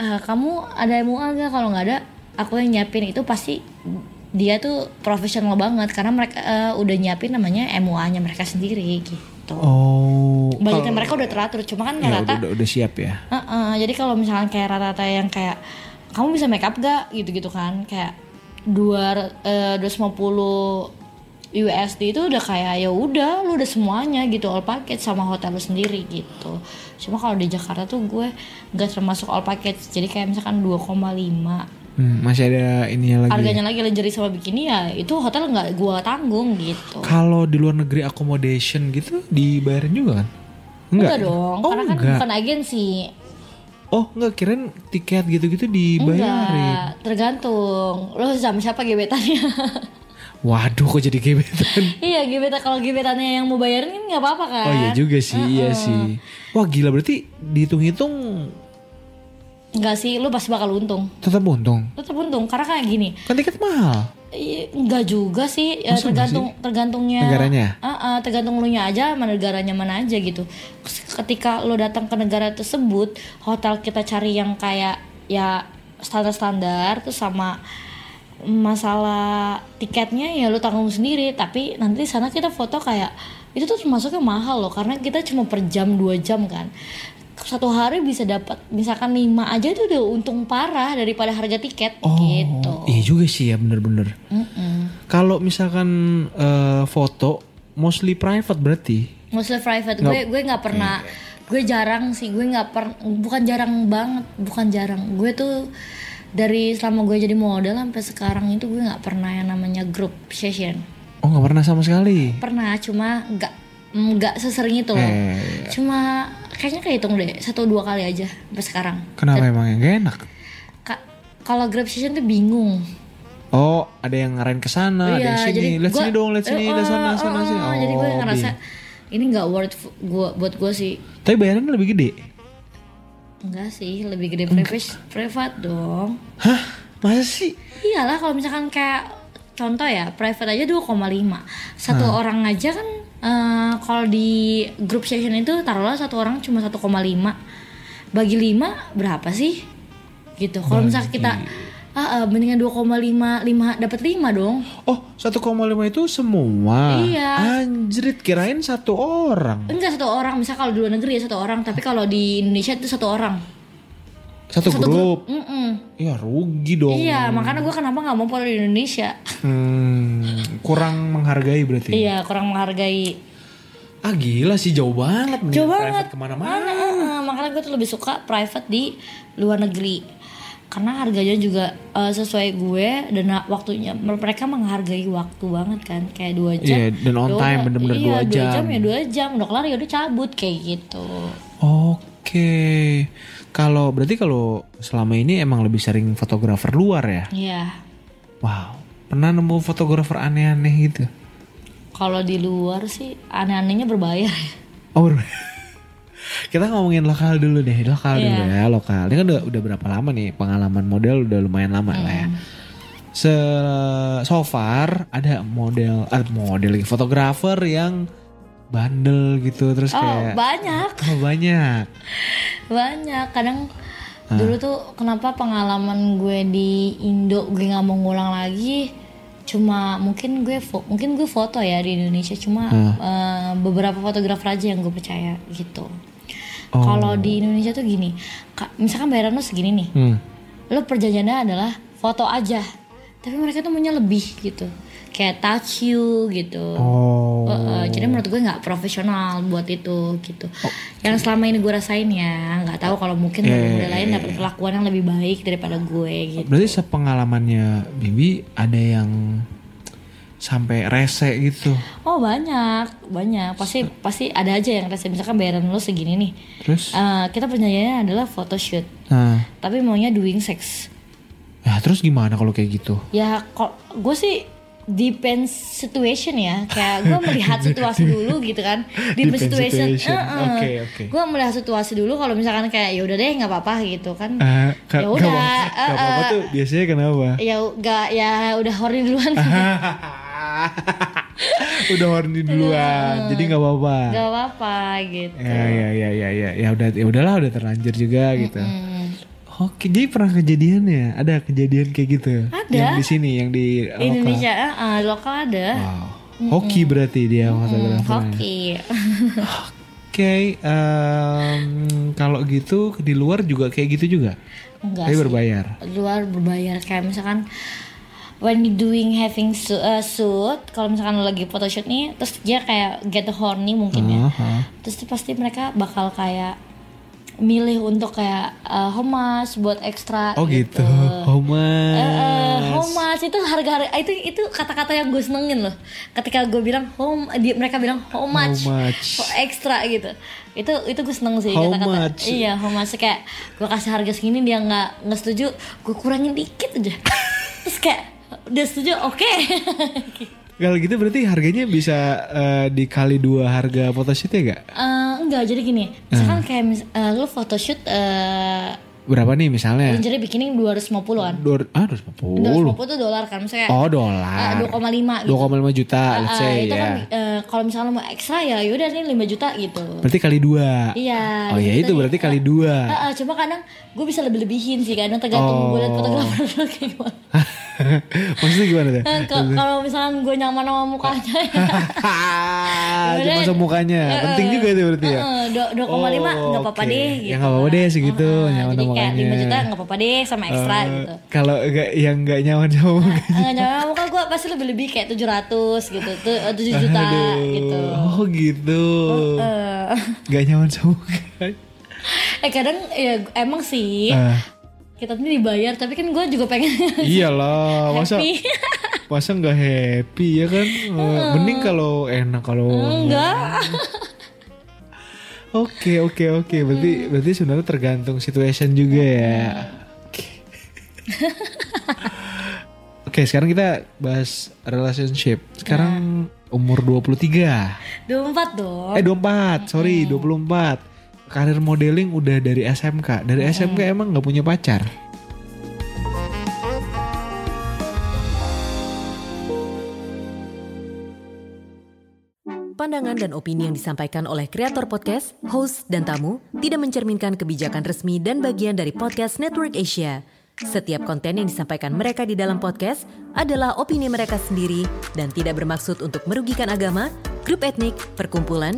Speaker 4: eh, kamu ada MUA gak? Kalau nggak ada, aku yang nyiapin itu pasti dia tuh profesional banget karena mereka eh, udah nyiapin namanya MUA-nya mereka sendiri gitu.
Speaker 3: Oh.
Speaker 4: Budgetnya
Speaker 3: kalau-
Speaker 4: mereka udah teratur, cuma kan
Speaker 3: ya,
Speaker 4: rata.
Speaker 3: udah, udah, udah siap ya.
Speaker 4: Heeh, jadi kalau misalkan kayak rata-rata yang kayak kamu eh, bisa make up gak gitu-gitu kan kayak dua dua USD itu udah kayak ya udah lu udah semuanya gitu all package sama hotel lu sendiri gitu cuma kalau di Jakarta tuh gue nggak termasuk all package jadi kayak misalkan 2,5
Speaker 3: Hmm, masih ada ininya lagi.
Speaker 4: harganya lagi lingerie sama bikini ya itu hotel nggak gua tanggung gitu
Speaker 3: Kalau di luar negeri accommodation gitu dibayarin juga kan?
Speaker 4: enggak dong
Speaker 3: Oh,
Speaker 4: karena kan
Speaker 3: enggak.
Speaker 4: bukan agensi
Speaker 3: Oh, enggak kirain tiket gitu-gitu dibayarin.
Speaker 4: enggak tergantung lo sama siapa gebetannya
Speaker 3: Waduh, kok jadi gebetan.
Speaker 4: iya gebetan kalau gebetannya yang mau bayarin kan nggak apa-apa kan
Speaker 3: Oh iya juga sih, iya sih. Wah, gila berarti dihitung-hitung
Speaker 4: Enggak sih lo pasti bakal untung
Speaker 3: tetap untung.
Speaker 4: tetap untung karena kayak gini
Speaker 3: Kan tiket mahal.
Speaker 4: i- enggak Iya, juga sih ya,
Speaker 3: Masa enggak
Speaker 4: tergantung tergantungnya
Speaker 3: Negaranya?
Speaker 4: Ah, ah, tergantung lu nya aja sama negaranya mana aja gitu ketika lo datang ke negara tersebut hotel kita cari yang kayak ya standar standar terus sama masalah tiketnya ya lu tanggung sendiri tapi nanti di sana kita foto kayak itu tuh termasuknya mahal loh karena kita cuma per jam dua jam kan satu hari bisa dapat misalkan lima aja itu udah untung parah daripada harga tiket
Speaker 3: Oh,
Speaker 4: gitu
Speaker 3: iya juga sih ya, bener-bener. Kalau misalkan eh, foto, mostly private berarti.
Speaker 4: mostly private gue gue nggak pernah
Speaker 3: Hmm.
Speaker 4: gue jarang sih gue nggak per bukan jarang banget bukan jarang gue tuh dari selama gue jadi model sampai sekarang itu gue nggak pernah yang namanya group session
Speaker 3: Oh, nggak pernah sama sekali.
Speaker 4: pernah cuma nggak nggak sesering itu loh
Speaker 3: Eh.
Speaker 4: cuma kayaknya kehitung deh satu dua kali aja sampai sekarang
Speaker 3: Kenapa emangnya? Gak enak.
Speaker 4: Ka- kalau group session tuh bingung
Speaker 3: Oh, ada yang ngarahin ke sana, ada yang Ah, sini. lihat
Speaker 4: Iya, gua-
Speaker 3: sini dong, lihat sini,
Speaker 4: eh,
Speaker 3: lihat sana,
Speaker 4: eh,
Speaker 3: sana,
Speaker 4: eh,
Speaker 3: sini. Oh,
Speaker 4: jadi gue ngerasa
Speaker 3: bi-
Speaker 4: ini nggak worth gue buat gue sih
Speaker 3: Tapi bayarannya lebih gede.
Speaker 4: Enggak sih, lebih gede privat, privat dong.
Speaker 3: Hah? Masa sih?
Speaker 4: Iyalah kalau misalkan kayak contoh ya, private aja 2,5. Satu orang aja kan eh, kalau di group session itu taruhlah satu orang cuma 1,5. Bagi 5 berapa sih? Gitu. Kalau misalkan kita ah, eh, mendingan 2,5 5 dapat 5 dong.
Speaker 3: Oh, 1,5 itu semua.
Speaker 4: Iya.
Speaker 3: Anjrit, kirain satu orang.
Speaker 4: Enggak satu orang, misal kalau di luar negeri ya satu orang, tapi kalau di Indonesia itu satu orang.
Speaker 3: Satu, grup.
Speaker 4: Mm-mm.
Speaker 3: Ya rugi dong.
Speaker 4: Mm. Iya, makanya gue kenapa nggak mau pola di Indonesia?
Speaker 3: Hmm, kurang menghargai berarti.
Speaker 4: Iya, kurang menghargai
Speaker 3: Ah gila sih jauh banget nih.
Speaker 4: Jauh
Speaker 3: private
Speaker 4: banget.
Speaker 3: kemana-mana.
Speaker 4: Mana, eh, eh, makanya gue tuh lebih suka private di luar negeri karena harganya juga eh, sesuai gue dan waktunya mereka menghargai waktu banget kan kayak dua jam.
Speaker 3: Iya, dan on time,
Speaker 4: Ya udah,
Speaker 3: bener-bener
Speaker 4: iya,
Speaker 3: dua jam.
Speaker 4: ya dua jam udah kelar ya udah cabut kayak gitu.
Speaker 3: Oke. Kalau berarti kalau selama ini emang lebih sering fotografer luar ya?
Speaker 4: Iya.
Speaker 3: Wow, pernah nemu fotografer aneh-aneh gitu?
Speaker 4: Kalau di luar sih aneh-anehnya berbayar.
Speaker 3: Oh, ber- kita ngomongin lokal dulu deh, lokal dulu
Speaker 4: Iya.
Speaker 3: ya, lokal. Ini kan udah, udah berapa lama nih pengalaman model udah lumayan lama lah ya.
Speaker 4: Hmm.
Speaker 3: Se so far ada model, eh, model lagi fotografer yang bandel gitu terus
Speaker 4: Oh,
Speaker 3: kayak
Speaker 4: banyak.
Speaker 3: oh, banyak.
Speaker 4: banyak kadang
Speaker 3: Ah.
Speaker 4: dulu tuh kenapa pengalaman gue di Indo gue nggak mau ngulang lagi cuma mungkin gue fo- mungkin gue foto ya di Indonesia cuma
Speaker 3: Ah.
Speaker 4: eh, beberapa fotografer aja yang gue percaya gitu
Speaker 3: Oh.
Speaker 4: kalau di Indonesia tuh gini ka- misalkan bayaran lo segini nih
Speaker 3: Hmm.
Speaker 4: lo perjanjiannya adalah foto aja tapi mereka tuh maunya lebih gitu kayak touch you gitu
Speaker 3: Oh.
Speaker 4: Uh, uh, jadi menurut gue nggak profesional buat itu gitu. Yang selama ini gue rasain ya, nggak tahu kalau mungkin model-model lain dapat perlakuan yang lebih baik daripada gue gitu.
Speaker 3: Berarti sepengalamannya Bibi ada yang sampai rese gitu.
Speaker 4: Oh banyak, banyak. Pasti pasti ada aja yang rasa misalkan bayaran lo segini nih.
Speaker 3: Terus
Speaker 4: Uh, kita perjanjiannya adalah photoshoot,
Speaker 3: nah,
Speaker 4: tapi maunya doing sex.
Speaker 3: ya terus gimana kalau kayak gitu?
Speaker 4: Ya kok gue sih depends situation ya kayak gue melihat situasi dulu gitu kan
Speaker 3: Depends
Speaker 4: depends, situation,
Speaker 3: situation.
Speaker 4: eh-eh.
Speaker 3: Oke, oke.
Speaker 4: gue melihat situasi dulu kalau misalkan kayak ya udah deh nggak apa-apa gitu kan
Speaker 3: Eh, ka- gak
Speaker 4: ya udah
Speaker 3: apa-
Speaker 4: eh,
Speaker 3: gak apa-apa
Speaker 4: eh,
Speaker 3: tuh biasanya kenapa?
Speaker 4: ya nggak ya udah horny duluan
Speaker 3: Ah. udah horny duluan, jadi nggak apa-apa.
Speaker 4: nggak apa-apa gitu
Speaker 3: Ya ya ya ya ya ya udah ya udahlah udah terlanjur juga gitu. Oke, jadi pernah kejadian ya? Ada kejadian kayak gitu?
Speaker 4: Ada.
Speaker 3: Yang di sini, yang di lokal.
Speaker 4: Indonesia eh, eh, lokal ada
Speaker 3: Wow. Hoki berarti dia
Speaker 4: Hmm,
Speaker 3: fotografer.
Speaker 4: hoki
Speaker 3: Oke, em, kalau gitu di luar juga kayak gitu juga.
Speaker 4: enggak
Speaker 3: Tapi
Speaker 4: sih.
Speaker 3: berbayar.
Speaker 4: luar berbayar kayak misalkan when you doing having su- uh, suit kalau misalkan lo lagi photoshoot nih terus dia kayak get horny mungkin
Speaker 3: Hmm,
Speaker 4: ya terus tuh pasti mereka bakal kayak milih untuk kayak uh, homas buat ekstra
Speaker 3: Oh gitu, Homas.
Speaker 4: Eh, eh, homas itu harga-harga itu itu kata-kata yang gue senengin loh. Ketika gue bilang home, dia, mereka bilang how much,
Speaker 3: How much.
Speaker 4: for extra gitu. Itu itu gue seneng sih
Speaker 3: How
Speaker 4: kata-kata.
Speaker 3: much.
Speaker 4: Iya homas kayak gue kasih harga segini dia nggak nggak setuju, gue kurangin dikit aja. Terus kayak dia setuju, oke.
Speaker 3: Kalau gitu berarti harganya bisa eh, dikali dua harga photoshoot ya gak?
Speaker 4: Eh, enggak jadi gini, misalkan kayak mis, eh, lo photoshoot eh
Speaker 3: Berapa nih misalnya?
Speaker 4: lingerie bikini
Speaker 3: Eh.
Speaker 4: 250-an.
Speaker 3: Dua, ah, 250.
Speaker 4: 250 tuh dolar kan misalnya.
Speaker 3: Oh dolar.
Speaker 4: Eh, 2,5 gitu.
Speaker 3: 2,5 juta, let's
Speaker 4: Ah,
Speaker 3: say
Speaker 4: itu
Speaker 3: ya.
Speaker 4: kan eh, kalau misalnya lo mau ekstra ya yaudah ini 5 juta gitu.
Speaker 3: Berarti kali dua.
Speaker 4: Iya.
Speaker 3: Oh ya itu
Speaker 4: Jadi,
Speaker 3: berarti
Speaker 4: eh,
Speaker 3: kali dua.
Speaker 4: Ah, ah, cuma kadang gue bisa lebih-lebihin sih kadang tergantung gue liat
Speaker 3: Oh.
Speaker 4: fotografer lo kayak gimana.
Speaker 3: Maksudnya gimana tuh?
Speaker 4: Eh, ke- Kalau misalnya gue nyaman sama mukanya. ya.
Speaker 3: Hahaha,
Speaker 4: Kemudian,
Speaker 3: Jangan masuk mukanya.
Speaker 4: eh,
Speaker 3: Penting juga itu berarti ya.
Speaker 4: eh, do- 2,5
Speaker 3: Oh,
Speaker 4: nggak apa-apa
Speaker 3: oke.
Speaker 4: deh.
Speaker 3: Ya,
Speaker 4: Gitu.
Speaker 3: nggak apa-apa deh segitu,
Speaker 4: Eh, eh,
Speaker 3: nyaman
Speaker 4: Jadi
Speaker 3: sama
Speaker 4: kayak 5
Speaker 3: mukanya.
Speaker 4: juta nggak apa-apa deh sama ekstra
Speaker 3: Eh,
Speaker 4: gitu.
Speaker 3: Kalau nggak yang nggak nyaman sama mukanya.
Speaker 4: Eh, nyaman sama muka gue pasti lebih-lebih kayak 700 gitu. tuh, eh, 7 juta
Speaker 3: Aduh.
Speaker 4: gitu.
Speaker 3: Oh gitu.
Speaker 4: Eh,
Speaker 3: Gak nyaman sama mukanya.
Speaker 4: eh kadang ya emang sih
Speaker 3: Eh,
Speaker 4: kita tuh dibayar tapi kan gue juga pengen
Speaker 3: iyalah, masa
Speaker 4: happy.
Speaker 3: masa nggak happy ya kan? Eh, Mending kalau enak kalau
Speaker 4: Eh, Enggak.
Speaker 3: Oh. Oke oke oke berarti berarti sebenarnya tergantung situation juga ya. Oke sekarang kita bahas relationship. Sekarang umur 23.
Speaker 4: 24 dong.
Speaker 3: Eh 24, sorry 24. Karir modeling udah dari SMK. Dari SMK emang nggak punya pacar.
Speaker 5: Pandangan dan opini yang disampaikan oleh kreator podcast, host, dan tamu tidak mencerminkan kebijakan resmi dan bagian dari podcast Network Asia. Setiap konten yang disampaikan mereka di dalam podcast adalah opini mereka sendiri dan tidak bermaksud untuk merugikan agama, grup etnik, perkumpulan,